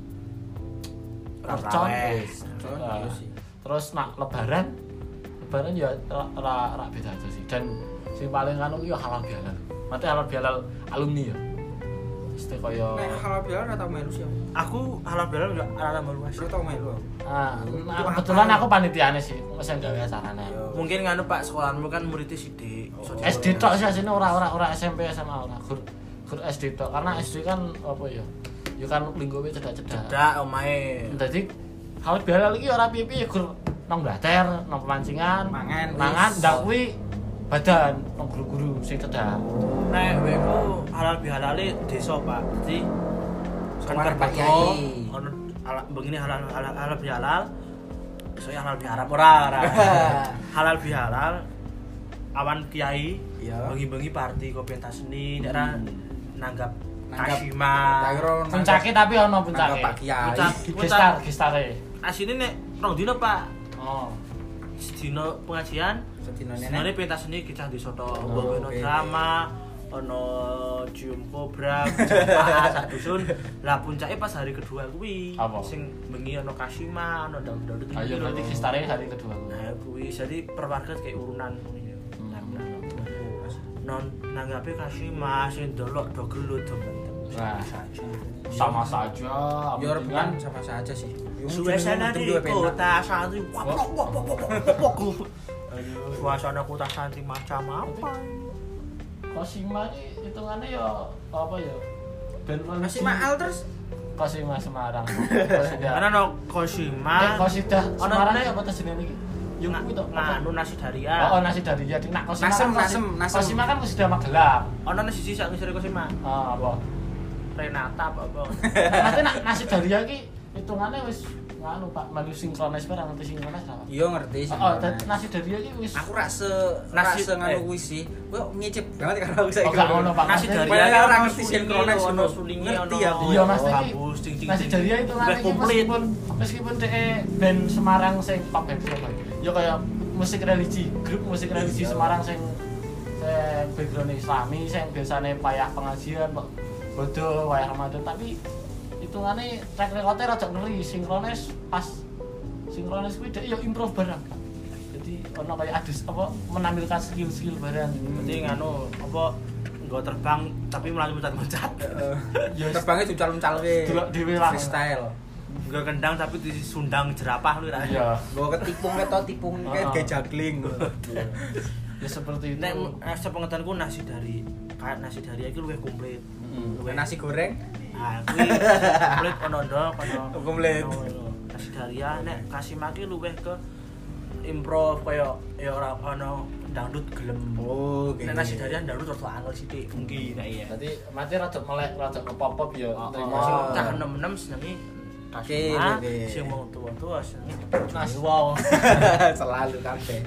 [SPEAKER 2] Mercon
[SPEAKER 5] Raweh.
[SPEAKER 2] wis. Eh, Terus nak lebaran lebaran ya ra- ra ra beda aja sih. Dan sing paling anu yo halal bihalal. Mate halal bihalal alumni ya. Mesti kaya
[SPEAKER 3] Nek halal bihalal ora tau melu sih. aku.
[SPEAKER 5] Aku halal bihalal enggak ala malu
[SPEAKER 3] Ora tau melu. aku.
[SPEAKER 2] Ah, nah,
[SPEAKER 3] Itu
[SPEAKER 2] kebetulan
[SPEAKER 3] apa?
[SPEAKER 2] aku panitiane sih, wis gawe acarane.
[SPEAKER 5] Mungkin nganu Pak sekolahmu kan muridnya sidik. So,
[SPEAKER 2] SD tok sih sini ora ora ora SMP SMA ora gur gur SD tok karena SD kan apa ya ya kan lingkungannya cedak-cedak
[SPEAKER 5] Dak omae.
[SPEAKER 2] jadi hal bihalal iki ora piye-piye gur nang blater nang pemancingan
[SPEAKER 3] Mangan,
[SPEAKER 2] mangan
[SPEAKER 3] wis.
[SPEAKER 2] ndak kuwi badan nang guru-guru sing cedak
[SPEAKER 5] Nek weku halal bihalale desa Pak. Jadi kan
[SPEAKER 3] Soalnya Pak
[SPEAKER 5] kerja
[SPEAKER 3] Kiai.
[SPEAKER 5] ono ala begini halal halal halal bihalal. Soalnya halal bihalal ora ora. Halal bihalal awan kiai
[SPEAKER 3] Iya. Hmm.
[SPEAKER 5] bengi-bengi party kopi tas seni daerah nanggap
[SPEAKER 3] Nanggap
[SPEAKER 5] Kashima
[SPEAKER 2] Ah,
[SPEAKER 3] Tairo
[SPEAKER 2] Puncake tapi ono puncake.
[SPEAKER 3] Pak Kiai.
[SPEAKER 5] Puncak.
[SPEAKER 2] Gestar, gestare.
[SPEAKER 5] asine nek rong dino Pak
[SPEAKER 2] Oh.
[SPEAKER 5] sedino pengajian
[SPEAKER 3] Sedino nenek.
[SPEAKER 5] sedino pentas seni kita di soto
[SPEAKER 3] Oh,
[SPEAKER 5] ono
[SPEAKER 3] oke.
[SPEAKER 5] drama ono cium kobra Pak sak dusun lah puncaknya pas hari kedua kuwi
[SPEAKER 2] Apa?
[SPEAKER 5] sing bengi ono Kashima ono daun-daun itu
[SPEAKER 2] Ayo berarti gestare hari kedua.
[SPEAKER 5] nah kuwi jadi perwarga kayak urunan kuwi.
[SPEAKER 3] Hmm.
[SPEAKER 5] non nanggapi kasih masih dolok do gelut do mentem.
[SPEAKER 2] Nah, sama saja. apa
[SPEAKER 3] Yo
[SPEAKER 2] penting
[SPEAKER 3] rebutan sama saja sih. Yo,
[SPEAKER 5] Suasana di
[SPEAKER 3] dua penak.
[SPEAKER 5] kota santri wap wap wap wap wap, wap wap Suasana kota santri macam apa?
[SPEAKER 2] Kosima ini hitungannya ya apa ya? Ben
[SPEAKER 3] Masih mahal terus.
[SPEAKER 2] Kosima Semarang. Kosida.
[SPEAKER 5] Karena no
[SPEAKER 3] Eh,
[SPEAKER 5] Koshima
[SPEAKER 2] Kosida
[SPEAKER 5] Ono
[SPEAKER 2] Semarang
[SPEAKER 5] meneh.
[SPEAKER 2] ya apa jenenge iki? Yo
[SPEAKER 5] nga-
[SPEAKER 2] kuwi to.
[SPEAKER 5] nganu nasi
[SPEAKER 2] Oh,
[SPEAKER 5] daria.
[SPEAKER 2] nasi dari ya. Nah, Kosima
[SPEAKER 3] Nasem,
[SPEAKER 2] kan-
[SPEAKER 3] nasem, nasem.
[SPEAKER 2] Kosima kan Kosida Magelang.
[SPEAKER 5] Ono nasi sisa ngisore Koshima.
[SPEAKER 2] Ah, apa?
[SPEAKER 5] Renata apa apa.
[SPEAKER 2] Nanti nak nasi dari ya iki hitungannya wis nganu Pak, melu sinkronis barang nanti sinkronis apa?
[SPEAKER 3] Yo ngerti sih.
[SPEAKER 2] Oh, dan nasi dari ya iki wis
[SPEAKER 3] aku rasa
[SPEAKER 5] Nasi-
[SPEAKER 3] rasa
[SPEAKER 5] eh.
[SPEAKER 3] nganu kuwi sih. Kuwi ngicip banget karena aku
[SPEAKER 2] Oh,
[SPEAKER 3] saiki.
[SPEAKER 2] gak ngono, Pak.
[SPEAKER 5] Nasi
[SPEAKER 2] Maksudnya-
[SPEAKER 5] daria
[SPEAKER 3] Padahal
[SPEAKER 5] kan
[SPEAKER 3] orang
[SPEAKER 5] ono
[SPEAKER 3] ngerti
[SPEAKER 5] sulingi,
[SPEAKER 3] sinkronis,
[SPEAKER 5] ono
[SPEAKER 3] ono.
[SPEAKER 5] sulingi
[SPEAKER 3] Ngerti
[SPEAKER 5] ono.
[SPEAKER 3] aku.
[SPEAKER 2] Iya,
[SPEAKER 5] oh,
[SPEAKER 2] Mas, iki-
[SPEAKER 5] Gabus ting ting.
[SPEAKER 2] Nasi dari itu kan
[SPEAKER 5] Udah
[SPEAKER 2] iki
[SPEAKER 5] komplit.
[SPEAKER 2] meskipun meskipun de band Semarang sing pop band Surabaya. Ya kaya musik religi, grup musik religi
[SPEAKER 3] Iya.
[SPEAKER 2] Semarang sing sing background Islami sing biasane payah pengajian, Pak. Bodoh, wayah Ramadan tapi hitungane track recordnya rada ngeri, sinkronis pas sinkronis kuwi dek yo improv bareng. Jadi ono kaya adus apa menampilkan skill-skill bareng.
[SPEAKER 5] Nanti nganu apa nggak terbang tapi malah mencat-mencat.
[SPEAKER 3] Yo terbangnya cucal-cucal we.
[SPEAKER 2] Delok dhewe lah.
[SPEAKER 3] Freestyle.
[SPEAKER 5] Nggak kendang tapi disundang jerapah lu ra.
[SPEAKER 2] Iya.
[SPEAKER 3] Gua ketipung ketok tipung kayak
[SPEAKER 2] Ah.
[SPEAKER 3] kayak juggling.
[SPEAKER 2] Ya seperti itu.
[SPEAKER 5] Nek eh, sepengetahuanku nasi dari kayak nasi dari iki luwih komplit. Luwih
[SPEAKER 3] Hmm. Nasi goreng.
[SPEAKER 5] Ah, kuwi komplit ono ndok ono.
[SPEAKER 3] Oh, Komplit.
[SPEAKER 5] ono- ono. Nasi daria nek kasih maki luwih ke improv kaya ya ora ono dangdut gelem.
[SPEAKER 3] Oh,
[SPEAKER 5] Nek nasi daria dangdut terus angel sithik mungkin nek iya.
[SPEAKER 2] Berarti mati rada melek, rada ngepop-pop ya.
[SPEAKER 3] Oh,
[SPEAKER 5] Terima kasih cah 66 senengi kasih
[SPEAKER 3] Oke,
[SPEAKER 2] Ah,
[SPEAKER 5] mah,
[SPEAKER 3] oke.
[SPEAKER 5] sing wong tua-tua senengi.
[SPEAKER 2] Nas.
[SPEAKER 3] Wow. Selalu kabeh.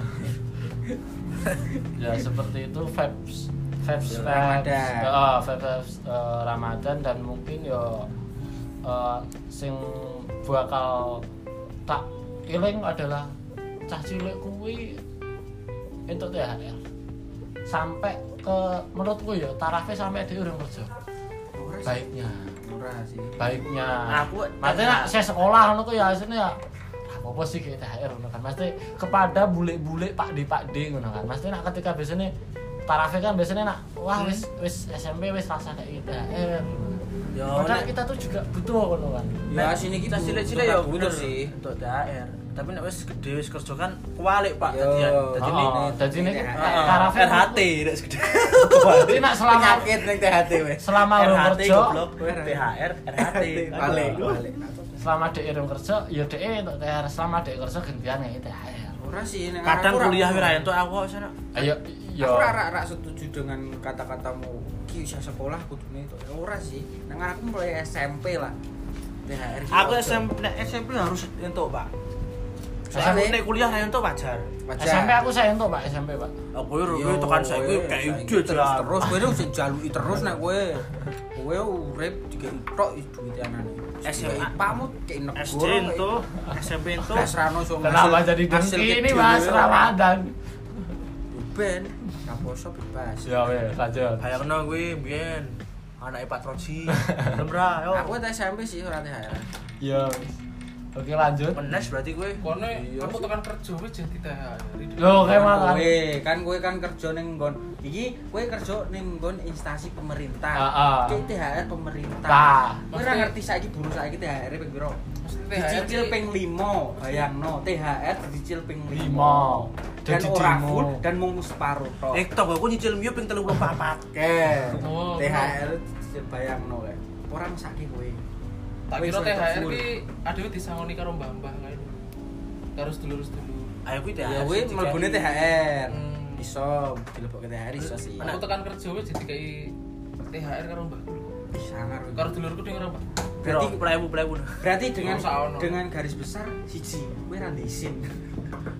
[SPEAKER 2] Ya seperti itu vibes vibes vibes
[SPEAKER 3] Ya, Ramadan.
[SPEAKER 2] Heeh, vibes, vibes, eh, Ramadan dan mungkin ya eh, sing bakal tak eling adalah cah cilik kuwi entuk THR. Sampai ke menurutku ya tarafnya sampai di urung kerja.
[SPEAKER 3] Murah sih.
[SPEAKER 2] Baiknya,
[SPEAKER 3] Murah sih.
[SPEAKER 2] baiknya.
[SPEAKER 5] Aku
[SPEAKER 2] Maksudnya nak saya sekolah ngono ku ya asline ya apa sih kayak THR ngono kan. Maksudnya kepada bule-bule Pak D Pak D ngono kan. Maksudnya nak ketika biasanya tarafnya kan biasanya nak wah wis wis SMP wis rasa kayak gitu THR.
[SPEAKER 5] Yo,
[SPEAKER 2] Padahal
[SPEAKER 5] nek-
[SPEAKER 2] kita tuh juga butuh ngono kan.
[SPEAKER 3] Ya sini kita
[SPEAKER 5] Untuk
[SPEAKER 3] cilik-cilik ya bener
[SPEAKER 5] bener
[SPEAKER 3] sih.
[SPEAKER 5] untuk THR tapi nek wis gede wis kerja kan kualik pak
[SPEAKER 3] Yo.
[SPEAKER 5] dadi dadi
[SPEAKER 3] Ah,
[SPEAKER 2] Jadi
[SPEAKER 5] ini
[SPEAKER 2] oh, jadi ini
[SPEAKER 3] THR.
[SPEAKER 2] kayak tarafnya
[SPEAKER 5] RHT nek gede
[SPEAKER 2] Jadi nak selama
[SPEAKER 3] Penyakit ning THT wes.
[SPEAKER 2] selama lu
[SPEAKER 5] RHT
[SPEAKER 2] kerja,
[SPEAKER 5] goblok THR RHT
[SPEAKER 3] Balik,
[SPEAKER 5] Aduh.
[SPEAKER 3] balik.
[SPEAKER 2] selama dek irung kerja, ya dek untuk THR, selama dek kerja gantian kayak THR.
[SPEAKER 3] Murah sih nek
[SPEAKER 5] kadang
[SPEAKER 3] aku ra-
[SPEAKER 5] kuliah ora entuk aku kok sana
[SPEAKER 2] Ayo, yo.
[SPEAKER 3] Aku ora ora setuju dengan kata-katamu. Ki usah sekolah kudune itu. Ya, Ora sih. Nang aku mulai SMP lah. THR. ki
[SPEAKER 5] aku
[SPEAKER 3] ojo.
[SPEAKER 5] SMP nek SMP harus entuk pak
[SPEAKER 3] SMP?
[SPEAKER 5] SMP nek kuliah ra entuk wajar
[SPEAKER 3] Wajar.
[SPEAKER 2] SMP aku saya entuk Pak SMP Pak.
[SPEAKER 5] aku yo yo tekan saiki kayak ide
[SPEAKER 3] terus terus kowe wis jaluki terus nek kowe kowe urip dikek tok is duit anane.
[SPEAKER 5] SMA.
[SPEAKER 3] SMA pamu kek
[SPEAKER 5] SD
[SPEAKER 3] negoro.
[SPEAKER 5] entuk SMP entuk
[SPEAKER 3] Asrano so
[SPEAKER 2] Kenapa jadi dengki
[SPEAKER 3] gitu
[SPEAKER 2] ini mas
[SPEAKER 3] ya.
[SPEAKER 2] Ramadan?
[SPEAKER 3] Ben, kaposo bebas.
[SPEAKER 2] Ya wes lanjut.
[SPEAKER 5] bayangno kuwi mbiyen anake patroji belum ra yo
[SPEAKER 3] Aku tak SMP sih ora THR.
[SPEAKER 2] Ya wes. Oke lanjut.
[SPEAKER 5] menes berarti kuwi
[SPEAKER 4] Kono
[SPEAKER 3] Iya
[SPEAKER 4] kamu
[SPEAKER 3] sih.
[SPEAKER 4] tekan kerja wis jadi THR.
[SPEAKER 2] Lo kayak makan.
[SPEAKER 3] Kowe kan kowe kan kerja ning nggon. Iki kowe kerja ning nggon instansi pemerintah.
[SPEAKER 2] Heeh.
[SPEAKER 3] Ki THR pemerintah.
[SPEAKER 2] Tah.
[SPEAKER 3] Kowe ora ngerti saiki buruh saiki THR ping piro?
[SPEAKER 4] Mesti THR
[SPEAKER 3] Dicicil
[SPEAKER 4] ki-
[SPEAKER 3] ping 5. Bayangno THR dicicil ping 5.
[SPEAKER 2] Lima. Eh.
[SPEAKER 3] dan
[SPEAKER 2] Jadi
[SPEAKER 3] orang
[SPEAKER 2] demo.
[SPEAKER 3] full dan mung separuh tok.
[SPEAKER 5] Nek toko aku nyicil mio ping 34.
[SPEAKER 3] Oke.
[SPEAKER 4] Oh,
[SPEAKER 3] THR bayangno kae. Ora mesake kowe.
[SPEAKER 4] Tak
[SPEAKER 3] Kowe
[SPEAKER 4] kira
[SPEAKER 3] iso
[SPEAKER 4] THR
[SPEAKER 3] full.
[SPEAKER 4] ki adewe disangoni karo mbah-mbah kae. Terus dulur-dulur.
[SPEAKER 5] Ayo kuwi
[SPEAKER 3] Ya
[SPEAKER 5] THR.
[SPEAKER 3] kowe mlebune THR.
[SPEAKER 4] Hmm.
[SPEAKER 3] Iso dilebokke THR iso sih.
[SPEAKER 4] Aku tekan kerja wis jadi kayak THR karo mbahku.
[SPEAKER 3] Ih, sangar.
[SPEAKER 4] kan Karo dulurku ding ora, Pak.
[SPEAKER 5] berarti
[SPEAKER 3] Berarti
[SPEAKER 5] plewu plewu.
[SPEAKER 3] berarti dengan
[SPEAKER 4] Nggak usah ono.
[SPEAKER 3] dengan garis besar siji kowe ra ndek isin.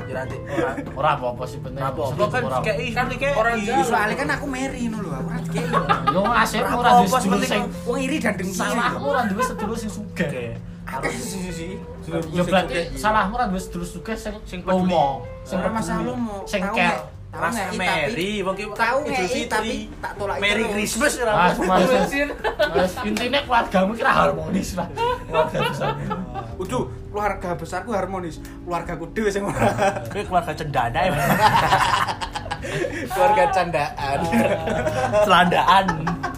[SPEAKER 5] Ya nanti ora
[SPEAKER 2] Ora apa-apa sih penting.
[SPEAKER 5] apa apa kan
[SPEAKER 2] ora apa.
[SPEAKER 5] kayak
[SPEAKER 4] Kan
[SPEAKER 5] seperti kayak
[SPEAKER 4] orang Jawa.
[SPEAKER 3] Soalnya kan aku meri ngono lho, aku ora dikei.
[SPEAKER 2] Yo asik
[SPEAKER 5] Ora
[SPEAKER 2] ora duwe
[SPEAKER 5] apa-apa,
[SPEAKER 2] sedulur
[SPEAKER 5] penting Iya.
[SPEAKER 2] sing
[SPEAKER 3] Wong iri dan dengki.
[SPEAKER 2] salahmu ora duwe sedulur sing sugih.
[SPEAKER 5] Oke. iya.
[SPEAKER 2] Harus
[SPEAKER 3] sih. Ya
[SPEAKER 2] yo berarti salahmu ora duwe sedulur sugih sing
[SPEAKER 5] Sing peduli.
[SPEAKER 2] lomo, sing
[SPEAKER 3] Ora masalah lu
[SPEAKER 2] peduli,
[SPEAKER 3] mau.
[SPEAKER 2] sing
[SPEAKER 3] tahu
[SPEAKER 2] care.
[SPEAKER 3] nggak? Tahu
[SPEAKER 5] Ras
[SPEAKER 3] nggak, i, tapi
[SPEAKER 5] Merry, wong ki
[SPEAKER 3] tahu
[SPEAKER 5] Idul
[SPEAKER 3] nggak, i,
[SPEAKER 5] Fitri.
[SPEAKER 3] tapi tak tolak
[SPEAKER 5] Merry
[SPEAKER 3] terus.
[SPEAKER 5] Christmas ya, ora
[SPEAKER 2] Mas,
[SPEAKER 5] apa-apa.
[SPEAKER 2] mas, mas, intinya keluargamu kira harmonis lah. Keluarga besar.
[SPEAKER 3] Udu, keluarga besarku harmonis, keluargaku dhewe sing ora.
[SPEAKER 5] Kayak keluarga cendana ya.
[SPEAKER 3] Keluarga candaan.
[SPEAKER 5] Celandaan.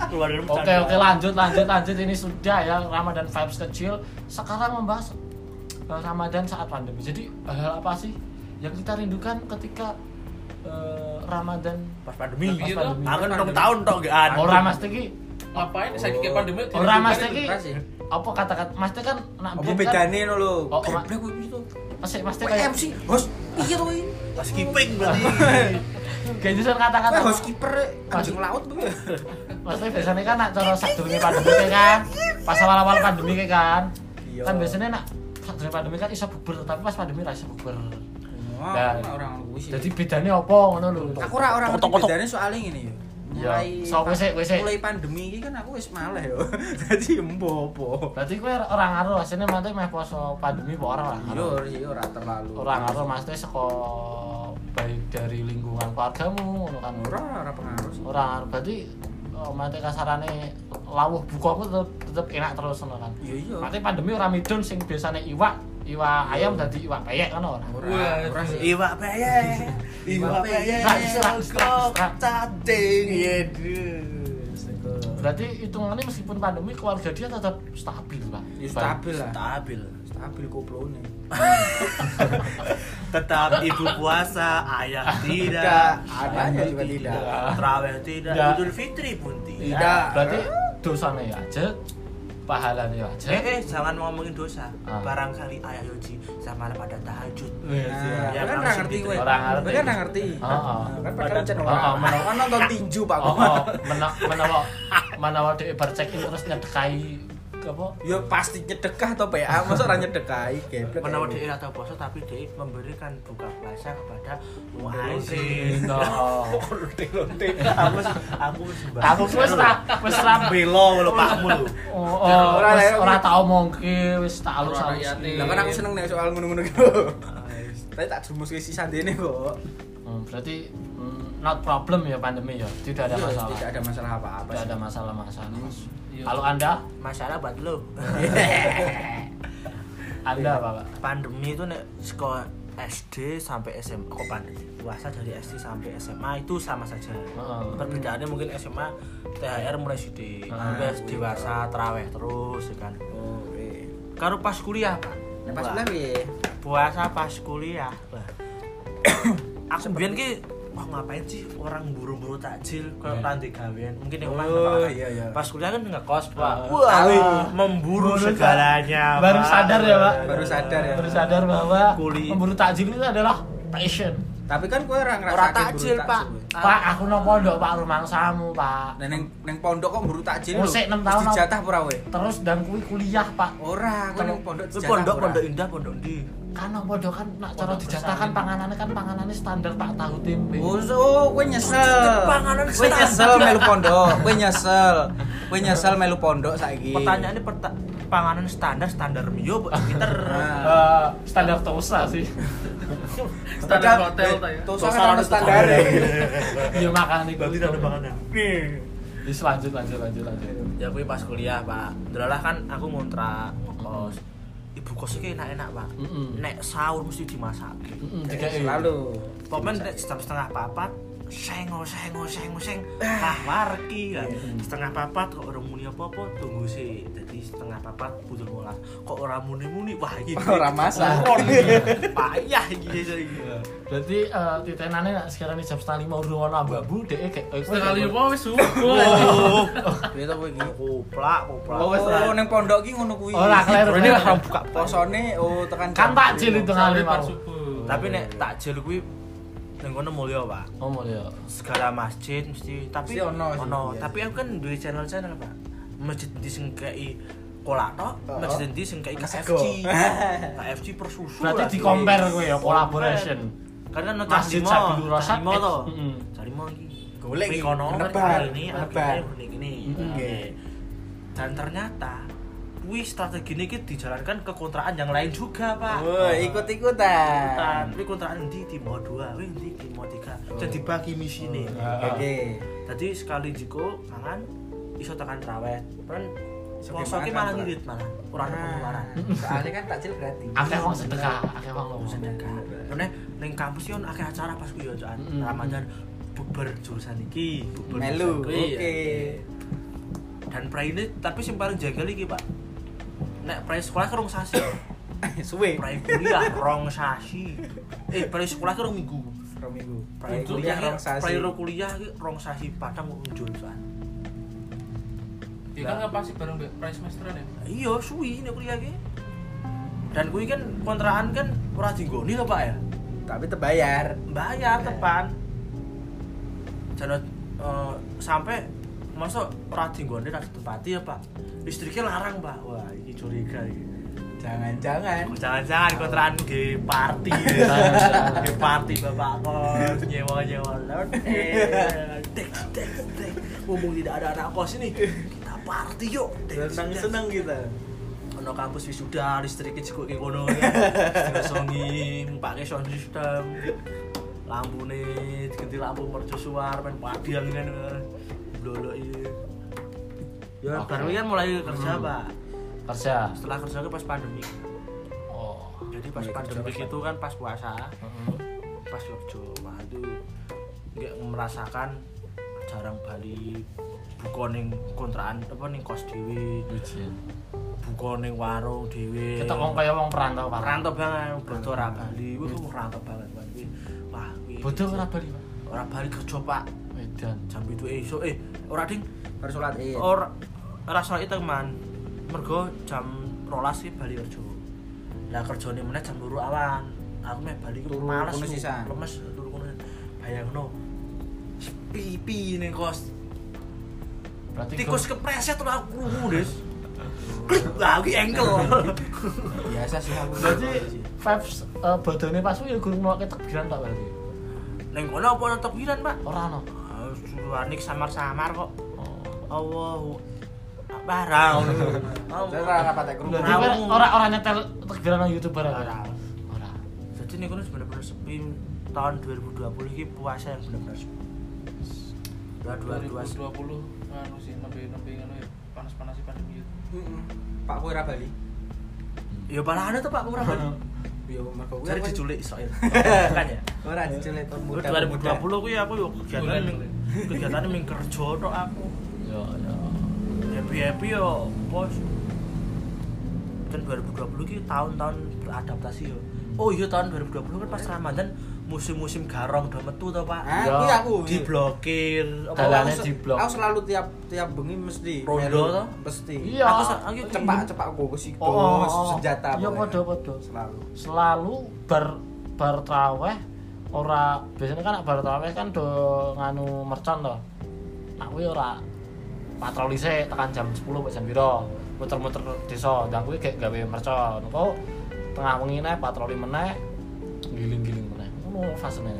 [SPEAKER 5] Keluarga
[SPEAKER 2] Oke oke lanjut lanjut lanjut ini sudah ya Ramadan vibes kecil. Sekarang membahas eh, Ramadan saat pandemi. Jadi hal apa sih yang kita rindukan ketika eh, Ramadan
[SPEAKER 5] Pas pandemi.
[SPEAKER 2] pas
[SPEAKER 4] Iya,
[SPEAKER 2] pandemi?
[SPEAKER 5] Aku nang tahun tok gak ada.
[SPEAKER 2] Ora Mas Teki,
[SPEAKER 4] Ngapain saiki kayak pandemi?
[SPEAKER 2] ora Mas
[SPEAKER 4] dirindukan
[SPEAKER 2] Teki.
[SPEAKER 4] itu.
[SPEAKER 2] Apa kata-kata Mas Teki kan nak
[SPEAKER 3] Apa
[SPEAKER 2] biyen
[SPEAKER 3] bedane ngono lho?
[SPEAKER 2] Oh, oh,
[SPEAKER 3] Geblek kuwi piye to?
[SPEAKER 2] kan Masih Mas Teki kayak
[SPEAKER 3] MC, host Iya, piye to iki?
[SPEAKER 5] Pas skipping berarti.
[SPEAKER 2] kayak jurusan
[SPEAKER 3] Kowe
[SPEAKER 2] kata-kata.
[SPEAKER 3] host kiper eh, anjing laut kuwi.
[SPEAKER 2] Maksudnya biasanya kan nak cara sadurunge pandemi kayak kan. Pas awal-awal pandemi kayak kan.
[SPEAKER 3] Iya.
[SPEAKER 2] Kan biasanya nak sadurunge pandemi kan iso bubar tapi pas pandemi ra iso bubar. Nah.
[SPEAKER 3] Orang kuwi sih.
[SPEAKER 2] Jadi bedanya apa ngono lho.
[SPEAKER 3] iya. aku ora ora ngerti
[SPEAKER 5] Otok-otok.
[SPEAKER 3] bedane soalnya ngene yo.
[SPEAKER 2] Ya, so, wis sik, wis sik.
[SPEAKER 3] mulai pandemi iki kan aku wis malah yo. Dadi ya embo apa.
[SPEAKER 2] Berarti kowe ora ngaruh asine mantu meh poso pandemi apa ora lah.
[SPEAKER 3] Yo yo ora terlalu.
[SPEAKER 2] Ora ngaruh maksudnya saka baik dari lingkungan keluargamu ngono kan.
[SPEAKER 3] Ora ora pengaruh. sih.
[SPEAKER 2] Ora ngaruh. Berarti oh, mate kasarane lawuh bukamu tetep tetep enak terus ngono kan.
[SPEAKER 3] Yo yo.
[SPEAKER 2] Mate pandemi ora midun sing biasane iwak, iwak
[SPEAKER 3] Iya.
[SPEAKER 2] ayam dadi iwak peyek ngono kan? ora.
[SPEAKER 3] Ora
[SPEAKER 4] Wah,
[SPEAKER 3] ora sih.
[SPEAKER 5] Iwa peye. Iwa peye.
[SPEAKER 2] Nah, serak, serak, serak.
[SPEAKER 5] Cacing yedu.
[SPEAKER 2] Berarti hitungannya meskipun pandemi keluarga dia tetap stabil lah.
[SPEAKER 3] Yo Iya, stabil lah.
[SPEAKER 5] Stabil.
[SPEAKER 3] Stabil koplone.
[SPEAKER 5] Tetap ibu puasa, ayah
[SPEAKER 3] Tidak,
[SPEAKER 5] tidak,
[SPEAKER 3] adanya juga tidak.
[SPEAKER 5] Terawih tidak,
[SPEAKER 2] Tidak.
[SPEAKER 5] Idul Fitri pun tidak.
[SPEAKER 3] Tidak.
[SPEAKER 2] Berarti dosanya ya aja, pahalanya ya aja.
[SPEAKER 5] Eh, eh, jangan ngomongin dosa.
[SPEAKER 2] Ah. Oh, iya,
[SPEAKER 5] Barangkali ayah Yoji sama pada tahajud.
[SPEAKER 3] Nah,
[SPEAKER 5] Ya,
[SPEAKER 3] ya
[SPEAKER 5] kan
[SPEAKER 3] kan ora
[SPEAKER 5] langsung
[SPEAKER 3] ngerti
[SPEAKER 5] gitu.
[SPEAKER 3] kowe.
[SPEAKER 2] Ora ngerti.
[SPEAKER 3] Kowe Kan ora ngerti.
[SPEAKER 2] Ah, ah.
[SPEAKER 3] Nah, Kan padahal cenah
[SPEAKER 2] Ah, ah,
[SPEAKER 3] ora.
[SPEAKER 2] menawa-
[SPEAKER 3] Kan nonton tinju Pak.
[SPEAKER 2] Oh, oh, mena- menawa menawa dhek bar check in terus nyedekai apa?
[SPEAKER 3] Yo pasti nyedekah to PA, masa ora nyedekahi geblek.
[SPEAKER 5] Menawa dia atau puasa tapi dia memberikan buka puasa kepada muaizin.
[SPEAKER 2] Zino.
[SPEAKER 3] Oh. lonte-lonte.
[SPEAKER 5] aku wis- aku wis mbak.
[SPEAKER 2] Aku wis ra wis ra
[SPEAKER 5] belo lho pakmu lho.
[SPEAKER 2] Oh, oh,
[SPEAKER 3] Ora,
[SPEAKER 2] wis ora
[SPEAKER 3] ora.
[SPEAKER 2] tau mongke wis tak
[SPEAKER 4] Ora
[SPEAKER 2] alus-alus.
[SPEAKER 4] rakyate.
[SPEAKER 3] Lah kan aku seneng nek soal ngono-ngono gitu. Tapi tak jumus ke sisa dene kok.
[SPEAKER 2] Hmm, berarti hmm, not problem ya pandemi ya. Tidak ada
[SPEAKER 3] Iya,
[SPEAKER 2] masalah.
[SPEAKER 3] Tidak ada masalah apa-apa.
[SPEAKER 2] Tidak
[SPEAKER 3] sih.
[SPEAKER 2] ada masalah-masalah.
[SPEAKER 4] Iya.
[SPEAKER 2] Kalau Anda,
[SPEAKER 5] Masalah buat lo.
[SPEAKER 2] Anda
[SPEAKER 3] Iya.
[SPEAKER 2] apa, Pak?
[SPEAKER 5] pandemi itu nek sekolah SD sampai SMA kok pandemi puasa dari SD sampai SMA itu sama saja
[SPEAKER 2] Heeh.
[SPEAKER 5] perbedaannya mungkin SMA THR mulai sidik
[SPEAKER 2] Heeh.
[SPEAKER 5] sampai dewasa teraweh terus ya kan
[SPEAKER 3] Oh, eh.
[SPEAKER 5] karo pas kuliah kan
[SPEAKER 3] Nek pas bulan piye?
[SPEAKER 5] puasa pas kuliah Wah. aku biar ki wah ngapain sih orang buru-buru takjil kalau
[SPEAKER 2] Iya.
[SPEAKER 5] nanti gawean mungkin yang orang
[SPEAKER 3] Oh,
[SPEAKER 5] kepala-
[SPEAKER 3] iya, iya.
[SPEAKER 5] pas kuliah kan nggak kos pak
[SPEAKER 2] Heeh.
[SPEAKER 5] wah
[SPEAKER 3] Tahu.
[SPEAKER 5] memburu
[SPEAKER 2] Baru-
[SPEAKER 5] segalanya
[SPEAKER 2] baru
[SPEAKER 5] Pak.
[SPEAKER 2] sadar ya, Pak?
[SPEAKER 3] Baru sadar ya.
[SPEAKER 2] Baru sadar bahwa
[SPEAKER 5] Kuli.
[SPEAKER 2] memburu takjil itu adalah passion.
[SPEAKER 3] Tapi kan kowe ora ngrasakake
[SPEAKER 5] Ora
[SPEAKER 3] buru
[SPEAKER 5] takjil, Pak.
[SPEAKER 3] kowe.
[SPEAKER 5] Ah.
[SPEAKER 2] Pak, aku nang pondok Pak rumangsamu, Pak.
[SPEAKER 3] Nah, neng neng pondok kok buru takjil
[SPEAKER 2] Oh,
[SPEAKER 3] lho.
[SPEAKER 2] sik, enam
[SPEAKER 3] Terus
[SPEAKER 2] tahun,
[SPEAKER 3] Dijatah pura kowe?
[SPEAKER 2] Terus dan kuwi kuliah, Pak.
[SPEAKER 3] Ora, kowe neng pondok
[SPEAKER 5] Itu
[SPEAKER 3] dijatah.
[SPEAKER 5] pondok
[SPEAKER 3] pura.
[SPEAKER 5] pondok indah pondok di
[SPEAKER 2] kan nang pondok kan nak cara
[SPEAKER 5] Pondok
[SPEAKER 2] dijatahkan
[SPEAKER 5] bersalin.
[SPEAKER 2] panganannya kan panganannya standar pak tahu tempe
[SPEAKER 3] Oh, so, oh, kowe nyesel.
[SPEAKER 5] Panganan
[SPEAKER 3] Kowe
[SPEAKER 5] setan.
[SPEAKER 3] nyesel melu pondok. Kowe nyesel. Kowe nyesel melu pondok saiki.
[SPEAKER 5] pertanyaannya perta- panganan standar standar mio buat Twitter
[SPEAKER 3] Nah.
[SPEAKER 2] Eh, standar tosa sih
[SPEAKER 4] Standar hotel ta ya.
[SPEAKER 3] Tosa kan ada standar.
[SPEAKER 2] iya makan itu
[SPEAKER 5] berarti ada panganan
[SPEAKER 3] Nih.
[SPEAKER 2] Terus lanjut lanjut lanjut lanjut
[SPEAKER 5] ya aku pas kuliah pak Delalah kan aku ngontrak kos ibu kos iki enak-enak pak
[SPEAKER 2] Mm-mm.
[SPEAKER 5] nek sahur mesti dimasak
[SPEAKER 2] Mm-mm, tiga E.
[SPEAKER 3] Eh, Selalu.
[SPEAKER 5] pokoknya nek jam setengah papat sengo sengo sengo seng
[SPEAKER 3] Eh.
[SPEAKER 5] ah warki lah setengah papat kok orang muni apa apa tunggu sih jadi setengah papat butuh ngolah kok orang muni muni wah ini
[SPEAKER 3] Ora masak.
[SPEAKER 5] payah gitu
[SPEAKER 2] berarti eh, titenane nak sekarang ini jam setengah lima udah ngono abu-abu deh kayak eh,
[SPEAKER 4] Sekali
[SPEAKER 2] kayak-
[SPEAKER 4] apa wis subuh.
[SPEAKER 3] Piye to kowe iki?
[SPEAKER 5] koplak koplak
[SPEAKER 3] Oh, wis oh, neng pondok iki ngono kuwi.
[SPEAKER 2] oh lah keliru
[SPEAKER 5] Ini orang buka
[SPEAKER 3] Posone oh tekan
[SPEAKER 2] kan
[SPEAKER 3] jam
[SPEAKER 2] takjil
[SPEAKER 3] lima.
[SPEAKER 2] itu
[SPEAKER 4] Sekali
[SPEAKER 2] kali
[SPEAKER 4] pas
[SPEAKER 2] mau
[SPEAKER 4] subuh.
[SPEAKER 5] tapi nek takjil kuwi nang kono mulya pak
[SPEAKER 2] oh mau ya
[SPEAKER 5] segala masjid mesti tapi
[SPEAKER 3] Mesti ono sih, iya.
[SPEAKER 5] tapi aku kan duwe channel-channel pak masjid di sing kei kolak tok,
[SPEAKER 3] Oh.
[SPEAKER 5] masjid endi sing kayak
[SPEAKER 3] Sego.
[SPEAKER 5] KFC. KFC persusu.
[SPEAKER 2] Berarti
[SPEAKER 5] lah,
[SPEAKER 2] di compare
[SPEAKER 5] wis.
[SPEAKER 2] kowe ya collaboration.
[SPEAKER 5] Karena no
[SPEAKER 2] Masjid
[SPEAKER 5] Carlimo,
[SPEAKER 2] Jatiluhur Rosak,
[SPEAKER 5] Carlimo
[SPEAKER 2] eh,
[SPEAKER 5] to.
[SPEAKER 2] mm-mm.
[SPEAKER 5] Carlimo iki.
[SPEAKER 3] Golek iki,
[SPEAKER 5] Mikono,
[SPEAKER 3] menebar,
[SPEAKER 5] ini,
[SPEAKER 3] menebar.
[SPEAKER 5] akhirnya bening ini.
[SPEAKER 2] Mm-mm.
[SPEAKER 5] Oke. Dan ternyata wih strategi ini dijalankan ke kontrakan yang lain juga, Pak.
[SPEAKER 3] Woi,
[SPEAKER 5] Kontrakan,
[SPEAKER 3] ikut-ikutan.
[SPEAKER 5] tapi kontrakan endi di mau 2, wih endi di mau 3. Jadi bagi misi ini.
[SPEAKER 2] Oh, iya.
[SPEAKER 3] Oke.
[SPEAKER 5] Jadi sekali jiko mangan iso tekan trawet. Kan
[SPEAKER 3] Iso
[SPEAKER 5] poso ki
[SPEAKER 3] makan,
[SPEAKER 5] malah
[SPEAKER 3] Pak.
[SPEAKER 5] ngirit malah. Ora ada pengeluaran.
[SPEAKER 3] Soalnya kan takjil gratis.
[SPEAKER 2] Akeh wong sedekah, akeh wong lomo.
[SPEAKER 5] sedekah. Karena ning kampus yon akeh acara pas kuwi yo Cok.
[SPEAKER 2] Mm-mm.
[SPEAKER 5] Ramadan bubar jurusan iki, bubar
[SPEAKER 3] Melu.
[SPEAKER 5] jurusan kuwi.
[SPEAKER 3] Oke.
[SPEAKER 5] Dan prai ini tapi sing paling jagal iki, Pak. Nek prai sekolah kerung sasi,
[SPEAKER 3] Suwe.
[SPEAKER 5] prai kuliah rong sasi. Eh, prai sekolah kerung minggu.
[SPEAKER 3] Rong minggu. ya,
[SPEAKER 5] Prai kuliah, prai ro kuliah ki rong sasi padang kok unjul soal.
[SPEAKER 4] Ya kan ngapasi bareng Mbak price semesteran ya.
[SPEAKER 5] Iya, suwi nek kuliah ki. Dan kuwi kan kontrakan kan ora digoni lho, Pak ya.
[SPEAKER 3] Tapi terbayar.
[SPEAKER 5] bayar tepan jalan eh, sampai masuk rading gonde rading tempati ya pak listriknya larang pak wah ini curiga ini
[SPEAKER 3] Jangan-jangan.
[SPEAKER 5] jangan-jangan kontrakan ke party ke party bapak kos eh, nyewa nyewa lord dek dek dek mumpung tidak ada anak kos ini kita party yuk Dek, dek.
[SPEAKER 3] Senang-senang kita.
[SPEAKER 5] ono kampus wisuda listriknya juga kayak kono ya songi pakai sound system lampu nih ganti lampu mercusuar main padian kan lolo iya ya
[SPEAKER 2] Oke.
[SPEAKER 5] baru ini kan mulai kerja
[SPEAKER 2] Hmm.
[SPEAKER 5] pak
[SPEAKER 2] Kerja.
[SPEAKER 5] setelah kerja kan pas pandemi
[SPEAKER 2] Oh.
[SPEAKER 5] jadi pas
[SPEAKER 3] Mulai kerja
[SPEAKER 5] pandemi
[SPEAKER 3] pas
[SPEAKER 5] itu kan pas puasa
[SPEAKER 2] Mm-mm.
[SPEAKER 5] pas kerja wah itu nggak merasakan jarang balik buka ning kontrakan apa ning kos dewi
[SPEAKER 2] Ujian.
[SPEAKER 5] buka ning warung dewi
[SPEAKER 2] Kita kok kaya wong perantau, Pak.
[SPEAKER 5] rantau banget bodo ora Bali kuwi tuh rantau banget Pak. Kuwi, wah kuwi
[SPEAKER 2] Bodho ora bali, Pak.
[SPEAKER 5] ora Bali kerja Pak
[SPEAKER 2] Medan.
[SPEAKER 5] jam itu esok eh ora ding
[SPEAKER 3] Harus sholat id.
[SPEAKER 5] ora ora soal itu man mergo jam rolas sih Bali kerja lah kerjane meneh jam luru awan aku meh Bali ku
[SPEAKER 3] Turu
[SPEAKER 5] males
[SPEAKER 3] kono
[SPEAKER 5] ku.
[SPEAKER 3] sisan.
[SPEAKER 5] lemes turu kono bayangno pipi ning kos
[SPEAKER 2] Berarti
[SPEAKER 5] tikus kepreset ora aku krungu Des klik lah kuwi engkel
[SPEAKER 3] Biasa sih aku.
[SPEAKER 2] berarti vibes eh, bodone pas kuwi ya gurung ngelakke tekbiran tak berarti.
[SPEAKER 5] ning kono apa ana tepiran Pak
[SPEAKER 2] Ora ono.
[SPEAKER 5] Ah, Suwarnik samar-samar kok
[SPEAKER 2] Oh.
[SPEAKER 5] Allah barang
[SPEAKER 3] Terus ora rapat ya, kerumunan.
[SPEAKER 2] Berarti kan ora ora nyetel tekbiran nang YouTuber ora.
[SPEAKER 5] Ora.
[SPEAKER 2] Ora.
[SPEAKER 5] jadi ini kan benar-benar sepi tahun 2020 ini puasa yang benar-benar sepi
[SPEAKER 4] 2020
[SPEAKER 5] 2022
[SPEAKER 4] anu sih nembe nembe ngono ya panas-panas sih pandemi. ya.
[SPEAKER 3] Mm-mm. Pak kowe ora Bali.
[SPEAKER 5] ya malahan itu pak murah banget
[SPEAKER 3] Yo mergo kowe
[SPEAKER 5] jadi
[SPEAKER 3] kan-
[SPEAKER 5] diculik Israel kan ya
[SPEAKER 3] Ora diculik tahun
[SPEAKER 5] Gua
[SPEAKER 3] muda.
[SPEAKER 5] 2020 gue aku yuk kegiatan
[SPEAKER 4] Bulan.
[SPEAKER 5] ming- kegiatan ming kerja tok aku
[SPEAKER 2] Yo yo.
[SPEAKER 5] happy happy yo bos kan 2020 ki tahun-tahun beradaptasi yo oh iya tahun 2020 kan pas Ramadan musim-musim garong udah metu tau pak
[SPEAKER 3] Ah,
[SPEAKER 2] Ya,
[SPEAKER 3] iya aku.
[SPEAKER 5] diblokir apa aku
[SPEAKER 2] Dalane
[SPEAKER 5] se-
[SPEAKER 2] diblok.
[SPEAKER 3] Aku selalu tiap tiap bengi mesti
[SPEAKER 5] Rondo
[SPEAKER 3] melu.
[SPEAKER 5] toh?
[SPEAKER 3] Mesti.
[SPEAKER 2] Iya.
[SPEAKER 5] aku se- aku
[SPEAKER 3] Cepak cepak aku ke situ,
[SPEAKER 2] Oh, oh, oh.
[SPEAKER 3] senjata.
[SPEAKER 2] Iya
[SPEAKER 3] pokoknya.
[SPEAKER 2] padha-padha.
[SPEAKER 3] Selalu.
[SPEAKER 2] selalu bar bar traweh ora biasanya kan bar traweh kan do nganu mercon to. Nah kuwi ora patroli sik tekan jam 10 sampai jam piro. Muter-muter desa, dan kuwi gak gawe mercon. Engko tengah wengi neh patroli meneh giling-giling meneh. Ngono fasene.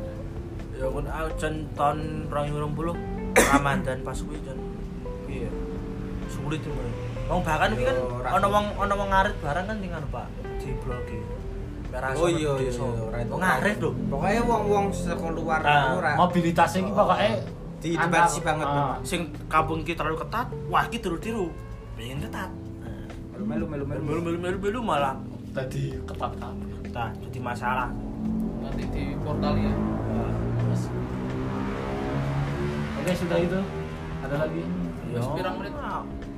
[SPEAKER 5] ya kan aku jan tahun 2020 Ramadan pas kuwi jan iya sulit itu Wong bahkan kuwi kan
[SPEAKER 3] Yo, ra-
[SPEAKER 5] ana wong ana wong ngarit barang kan tinggal Pak diblokir Merasa
[SPEAKER 3] Oh iya iya
[SPEAKER 5] desa.
[SPEAKER 3] iya, right.
[SPEAKER 5] Wong ngarit lho
[SPEAKER 3] Pokoknya wong-wong saka luar
[SPEAKER 5] Ah,
[SPEAKER 3] ora.
[SPEAKER 2] Mobilitas iki pokoke
[SPEAKER 3] Dibatasi banget,
[SPEAKER 2] Ah,
[SPEAKER 3] memang.
[SPEAKER 5] sing kampung kita terlalu ketat wah kita tiru-tiru pengen ketat Nah,
[SPEAKER 3] Melu melu melu
[SPEAKER 5] melu melu melu melu malah
[SPEAKER 2] Tadi ketat kabeh.
[SPEAKER 5] nah jadi masalah
[SPEAKER 4] Nanti di portal ya.
[SPEAKER 2] Terus. Oke sudah itu. Ada lagi?
[SPEAKER 3] Iya.
[SPEAKER 4] Wis pirang menit?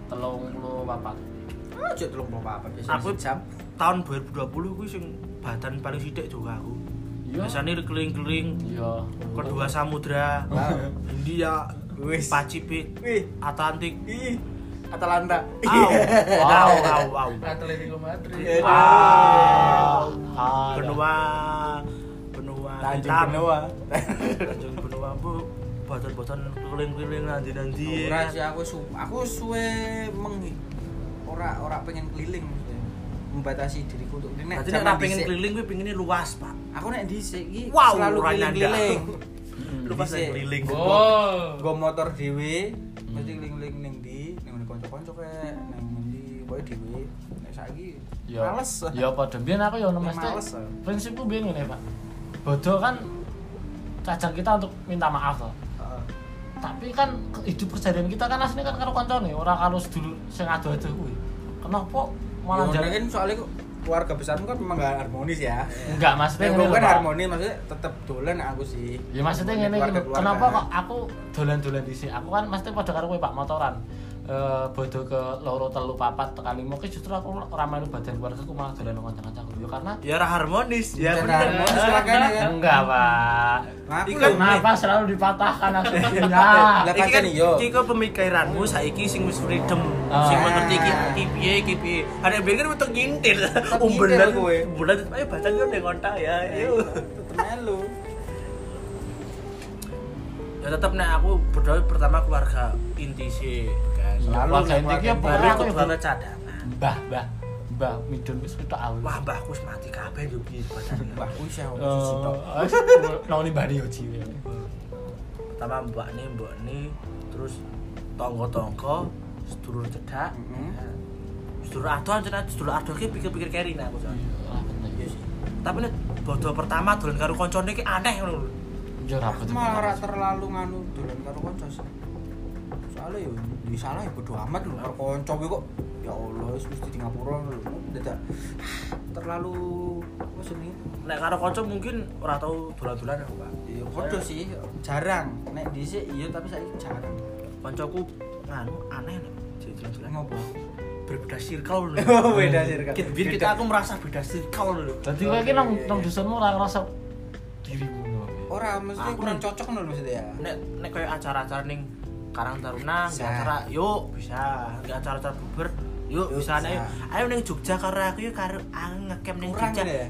[SPEAKER 2] Telung puluh papat.
[SPEAKER 3] Aja Ah, telung puluh apa biasa
[SPEAKER 5] Aku-
[SPEAKER 3] jam.
[SPEAKER 5] tahun 2020 kuwi sing badan paling sithik juga aku
[SPEAKER 2] Iya.
[SPEAKER 5] biasanya keliling-keliling
[SPEAKER 2] Iya.
[SPEAKER 5] kedua samudra
[SPEAKER 3] Wow.
[SPEAKER 5] India
[SPEAKER 3] Wis.
[SPEAKER 5] Pasifik
[SPEAKER 3] Wih,
[SPEAKER 5] Atlantik
[SPEAKER 3] ih. Atalanta.
[SPEAKER 5] au au au au
[SPEAKER 4] Atletico Madrid.
[SPEAKER 3] Iya.
[SPEAKER 2] Ah, ah,
[SPEAKER 5] benua benua
[SPEAKER 3] Tanjung
[SPEAKER 5] hitam.
[SPEAKER 3] Benoa.
[SPEAKER 5] Tanjung benua bu Iya. badan-badan keliling-keliling nanti nanti
[SPEAKER 3] Ora sih aku su aku suwe meng ora ora pengen keliling maksudnya. Membatasi diriku untuk keliling.
[SPEAKER 5] Berarti
[SPEAKER 3] Zaman
[SPEAKER 5] nek ora pengen
[SPEAKER 3] dhisik-
[SPEAKER 5] keliling kuwi pengennya luas, Pak.
[SPEAKER 3] Aku nek dhisik iki
[SPEAKER 5] Wow,
[SPEAKER 3] selalu
[SPEAKER 5] ora nyandang.
[SPEAKER 3] keliling-keliling.
[SPEAKER 5] Luas
[SPEAKER 3] Dhisik.
[SPEAKER 5] dan keliling.
[SPEAKER 4] Oh.
[SPEAKER 3] Nggo motor dhewe, mesti keliling-keliling ning ndi, ning ngene kanca-kanca kae, ning ngendi, pokoke dhewe. Nek saiki
[SPEAKER 2] Ya,
[SPEAKER 3] males.
[SPEAKER 2] Ya padha biyen aku ya nemes
[SPEAKER 3] Males,
[SPEAKER 2] teh.
[SPEAKER 3] ah.
[SPEAKER 2] Prinsipku biyen ngene, Pak. Bodoh kan cacar kita untuk minta maaf loh.
[SPEAKER 3] Heeh.
[SPEAKER 2] Tapi kan ke- hidup perjalanan kita kan aslinya kan karo kancane, ora karo sedulur sing adu-adu kuwi. Kenapa malah
[SPEAKER 3] Ya,
[SPEAKER 2] jalan
[SPEAKER 3] mungkin soalnya kok keluarga besarmu kan memang gak harmonis ya.
[SPEAKER 2] enggak maksudnya
[SPEAKER 3] Ya,
[SPEAKER 2] ngene lho,
[SPEAKER 3] bukan
[SPEAKER 2] Pak.
[SPEAKER 3] harmonis maksudnya tetap dolan aku sih.
[SPEAKER 2] Ya maksudnya ngene iki lho,
[SPEAKER 3] Keluarga-keluarga.
[SPEAKER 2] kenapa kok aku dolan-dolan dhisik? Aku kan mesti padha karo kowe Pak motoran. Eh bodo ke loro telu papat tekani mungkin justru aku ora melu badan keluargaku malah dolan nang kanca-kancaku. Ya karena
[SPEAKER 5] Ya ora harmonis, ya
[SPEAKER 3] Bukan
[SPEAKER 5] bener.
[SPEAKER 3] harmonis makanya kan.
[SPEAKER 2] enggak, Pak.
[SPEAKER 3] Aku
[SPEAKER 5] Ikan-
[SPEAKER 3] lho,
[SPEAKER 2] Kenapa selalu dipatahkan Iya. aksesnya?
[SPEAKER 3] Lah,
[SPEAKER 5] Iki kan
[SPEAKER 3] kancane yo.
[SPEAKER 5] iki kok pemikiranmu saiki sing wis freedom,
[SPEAKER 2] Ah.
[SPEAKER 5] sing mengerti iki iki piye iki piye. Ada biyen kan metu ngintil. Umbelan
[SPEAKER 3] ngintil kowe.
[SPEAKER 5] Umbelan ayo baca yo ning kontak ya. Yo.
[SPEAKER 3] tetep melu.
[SPEAKER 5] Ya tetep nek aku berdoa pertama keluarga inti sih. Guys.
[SPEAKER 3] Selalu
[SPEAKER 2] Keluarga
[SPEAKER 3] nek
[SPEAKER 2] inti ki apa?
[SPEAKER 3] keluarga
[SPEAKER 5] Baru
[SPEAKER 2] Ora,
[SPEAKER 5] aku
[SPEAKER 2] aku
[SPEAKER 5] keluarga cadangan.
[SPEAKER 2] Mbah, mbah, mbah midun wis ketok aku. Eh,
[SPEAKER 5] Wah, mbahku wis mati kabeh yo piye badan.
[SPEAKER 3] Wah, kuwi sih aku sisi tok.
[SPEAKER 2] Eh, noni mbah yo cilik.
[SPEAKER 5] pertama mbak nih mbak nih terus tonggo tonggo sedulur cedak
[SPEAKER 3] Mm-mm.
[SPEAKER 5] sedulur adoh anjir sedulur adoh ki pikir-pikir kering nah aku soalnya.
[SPEAKER 2] Ora penting.
[SPEAKER 5] tapi nih bodoh pertama dolan karo koncone ki aneh ngono lho
[SPEAKER 2] Yo ora
[SPEAKER 3] Aku
[SPEAKER 2] penting.
[SPEAKER 3] malah ora terlalu nganu dolan karo kanca sih. Soale yo di salah ya bodo amat lho karo kanca kuwi kok ya Allah wis mesti di ngapura lho. Dadak terlalu apa jenenge?
[SPEAKER 5] nek karo kanca mungkin ora tau dolan-dolan aku Pak
[SPEAKER 3] Ya bodo sih jarang. Nek dhisik iya tapi saiki jarang.
[SPEAKER 5] kancaku nganu aneh nih jadi dolan-dolan
[SPEAKER 3] Ngopo?
[SPEAKER 5] berbeda circle lho
[SPEAKER 3] Beda circle.
[SPEAKER 5] kita biar kita aku merasa beda circle lho
[SPEAKER 2] Dadi kowe iki nang
[SPEAKER 3] Oke.
[SPEAKER 2] nang dusunmu ora ngerasa dirimu ngono.
[SPEAKER 5] Oh,
[SPEAKER 3] Ora mesti
[SPEAKER 5] Aku-
[SPEAKER 3] kurang cocok lho mesti ya.
[SPEAKER 5] nek nek kayak acara-acara ning Karang Taruna,
[SPEAKER 3] Bisa.
[SPEAKER 5] nggak acara, yuk bisa. Nggak acara-acara buber, yuk
[SPEAKER 3] Yuk,
[SPEAKER 5] bisa.
[SPEAKER 3] bisa.
[SPEAKER 5] Ayo, ayo ning Jogja karo aku yuk karo aku ngecamp ning
[SPEAKER 3] Kurang
[SPEAKER 5] Jogja.
[SPEAKER 3] ya.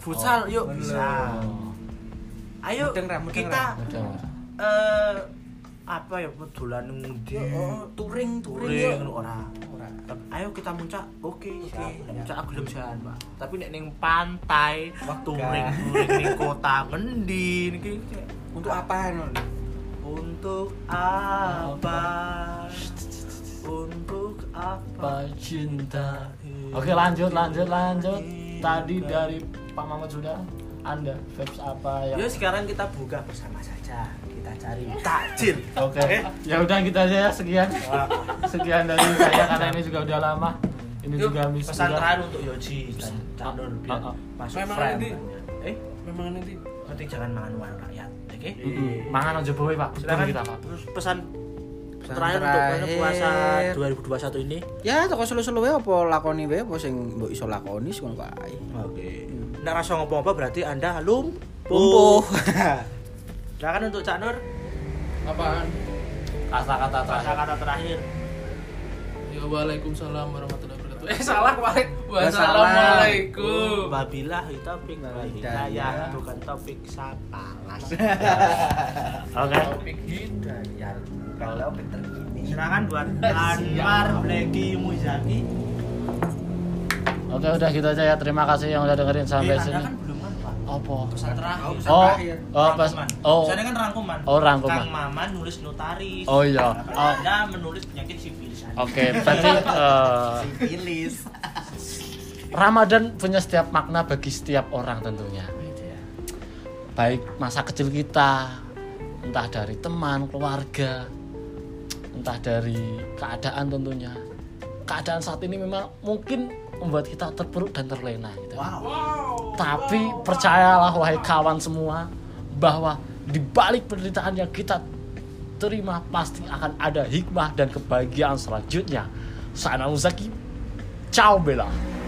[SPEAKER 5] Futsal yuk
[SPEAKER 3] bener.
[SPEAKER 5] bisa.
[SPEAKER 2] Oh,
[SPEAKER 5] Ayo
[SPEAKER 3] Mudeng, Ra, mudeng,
[SPEAKER 5] kita
[SPEAKER 3] Ra.
[SPEAKER 2] Udah.
[SPEAKER 5] eh apa ya dolan ngendi?
[SPEAKER 3] Yo oh, touring touring
[SPEAKER 5] Touring
[SPEAKER 3] yo.
[SPEAKER 5] ora.
[SPEAKER 3] Ora.
[SPEAKER 5] Nah, kan, Ayo kita muncak, oke oke.
[SPEAKER 3] Siap,
[SPEAKER 5] Nek
[SPEAKER 3] ya.
[SPEAKER 5] Muncak aku gelem jalan, Pak. Tapi nek ning pantai,
[SPEAKER 3] Wah,
[SPEAKER 5] touring touring ning kota ngendi niki kayak,
[SPEAKER 3] Untuk apaan lho?
[SPEAKER 5] Untuk apa? Untuk apa?
[SPEAKER 2] Apa cinta? Oke, lanjut, lanjut, lanjut. Tadi dari Pak Mamat sudah Anda vibes apa yang
[SPEAKER 5] Yuk sekarang kita buka bersama saja. Kita cari takjil.
[SPEAKER 2] Oke, ya udah kita aja ya sekian. Sekian dari saya karena ini juga udah lama. Ini
[SPEAKER 4] Yuk,
[SPEAKER 2] juga miss
[SPEAKER 5] Pesan
[SPEAKER 2] juga.
[SPEAKER 5] terakhir untuk Yoji dan Candor biar
[SPEAKER 2] Ah, ah.
[SPEAKER 5] masuk
[SPEAKER 4] Memang
[SPEAKER 5] frame.
[SPEAKER 4] nanti.
[SPEAKER 5] Eh,
[SPEAKER 4] Memang nanti.
[SPEAKER 5] penting jangan makan warung rakyat, oke?
[SPEAKER 2] Mm-mm. Mangan aja boy pak.
[SPEAKER 5] Silakan
[SPEAKER 2] Silakan kita pak.
[SPEAKER 5] terus pesan
[SPEAKER 3] Pesan
[SPEAKER 5] terakhir untuk bulan puasa
[SPEAKER 3] terakhir.
[SPEAKER 5] 2021 ini.
[SPEAKER 3] Ya toko selo-selo wae apa lakoni wae apa sing mbok iso lakoni sing ngono kae.
[SPEAKER 5] Oke. Nggak rasa ngopo-ngopo berarti Anda lumpuh.
[SPEAKER 3] Lumpuh.
[SPEAKER 5] Silakan untuk Cak Nur,
[SPEAKER 4] Apaan?
[SPEAKER 2] Kata-kata terakhir.
[SPEAKER 5] kata-kata terakhir.
[SPEAKER 4] Ya waalaikumsalam warahmatullahi wabarakatuh. Eh salah wae.
[SPEAKER 5] Oh,
[SPEAKER 4] Wassalamualaikum.
[SPEAKER 5] Babilah itu topik
[SPEAKER 3] Babilah.
[SPEAKER 5] hidayah, bukan topik sapalas.
[SPEAKER 2] Oke.
[SPEAKER 4] Topik gitu.
[SPEAKER 3] Kalau pinter gini.
[SPEAKER 5] Silakan buat Anwar Blacky Muzaki.
[SPEAKER 2] Oke udah gitu aja ya. Terima kasih yang udah dengerin
[SPEAKER 5] Eh,
[SPEAKER 2] sampai
[SPEAKER 5] Anda
[SPEAKER 2] sini.
[SPEAKER 5] kan belum kan, Pak?
[SPEAKER 2] Apa?
[SPEAKER 5] Pesan terakhir.
[SPEAKER 3] pesan
[SPEAKER 2] Oh,
[SPEAKER 3] terakhir.
[SPEAKER 2] oh pas.
[SPEAKER 5] Rangkuman.
[SPEAKER 2] Oh,
[SPEAKER 5] Soalnya kan rangkuman.
[SPEAKER 2] Oh, rangkuman.
[SPEAKER 5] Kang Maman nulis notaris.
[SPEAKER 2] oh iya.
[SPEAKER 5] Kalau
[SPEAKER 2] Oh,
[SPEAKER 5] Anda menulis penyakit sifilis. Anda.
[SPEAKER 2] Oke, berarti eh,
[SPEAKER 5] Sifilis.
[SPEAKER 2] Ramadan punya setiap makna bagi setiap orang tentunya. Baik masa kecil kita, entah dari teman, keluarga, entah dari keadaan tentunya. Keadaan saat ini memang mungkin membuat kita terpuruk dan terlena gitu. Tapi percayalah wahai kawan semua bahwa di balik penderitaan yang kita terima pasti akan ada hikmah dan kebahagiaan selanjutnya. Sana Muzaki, ciao Bella.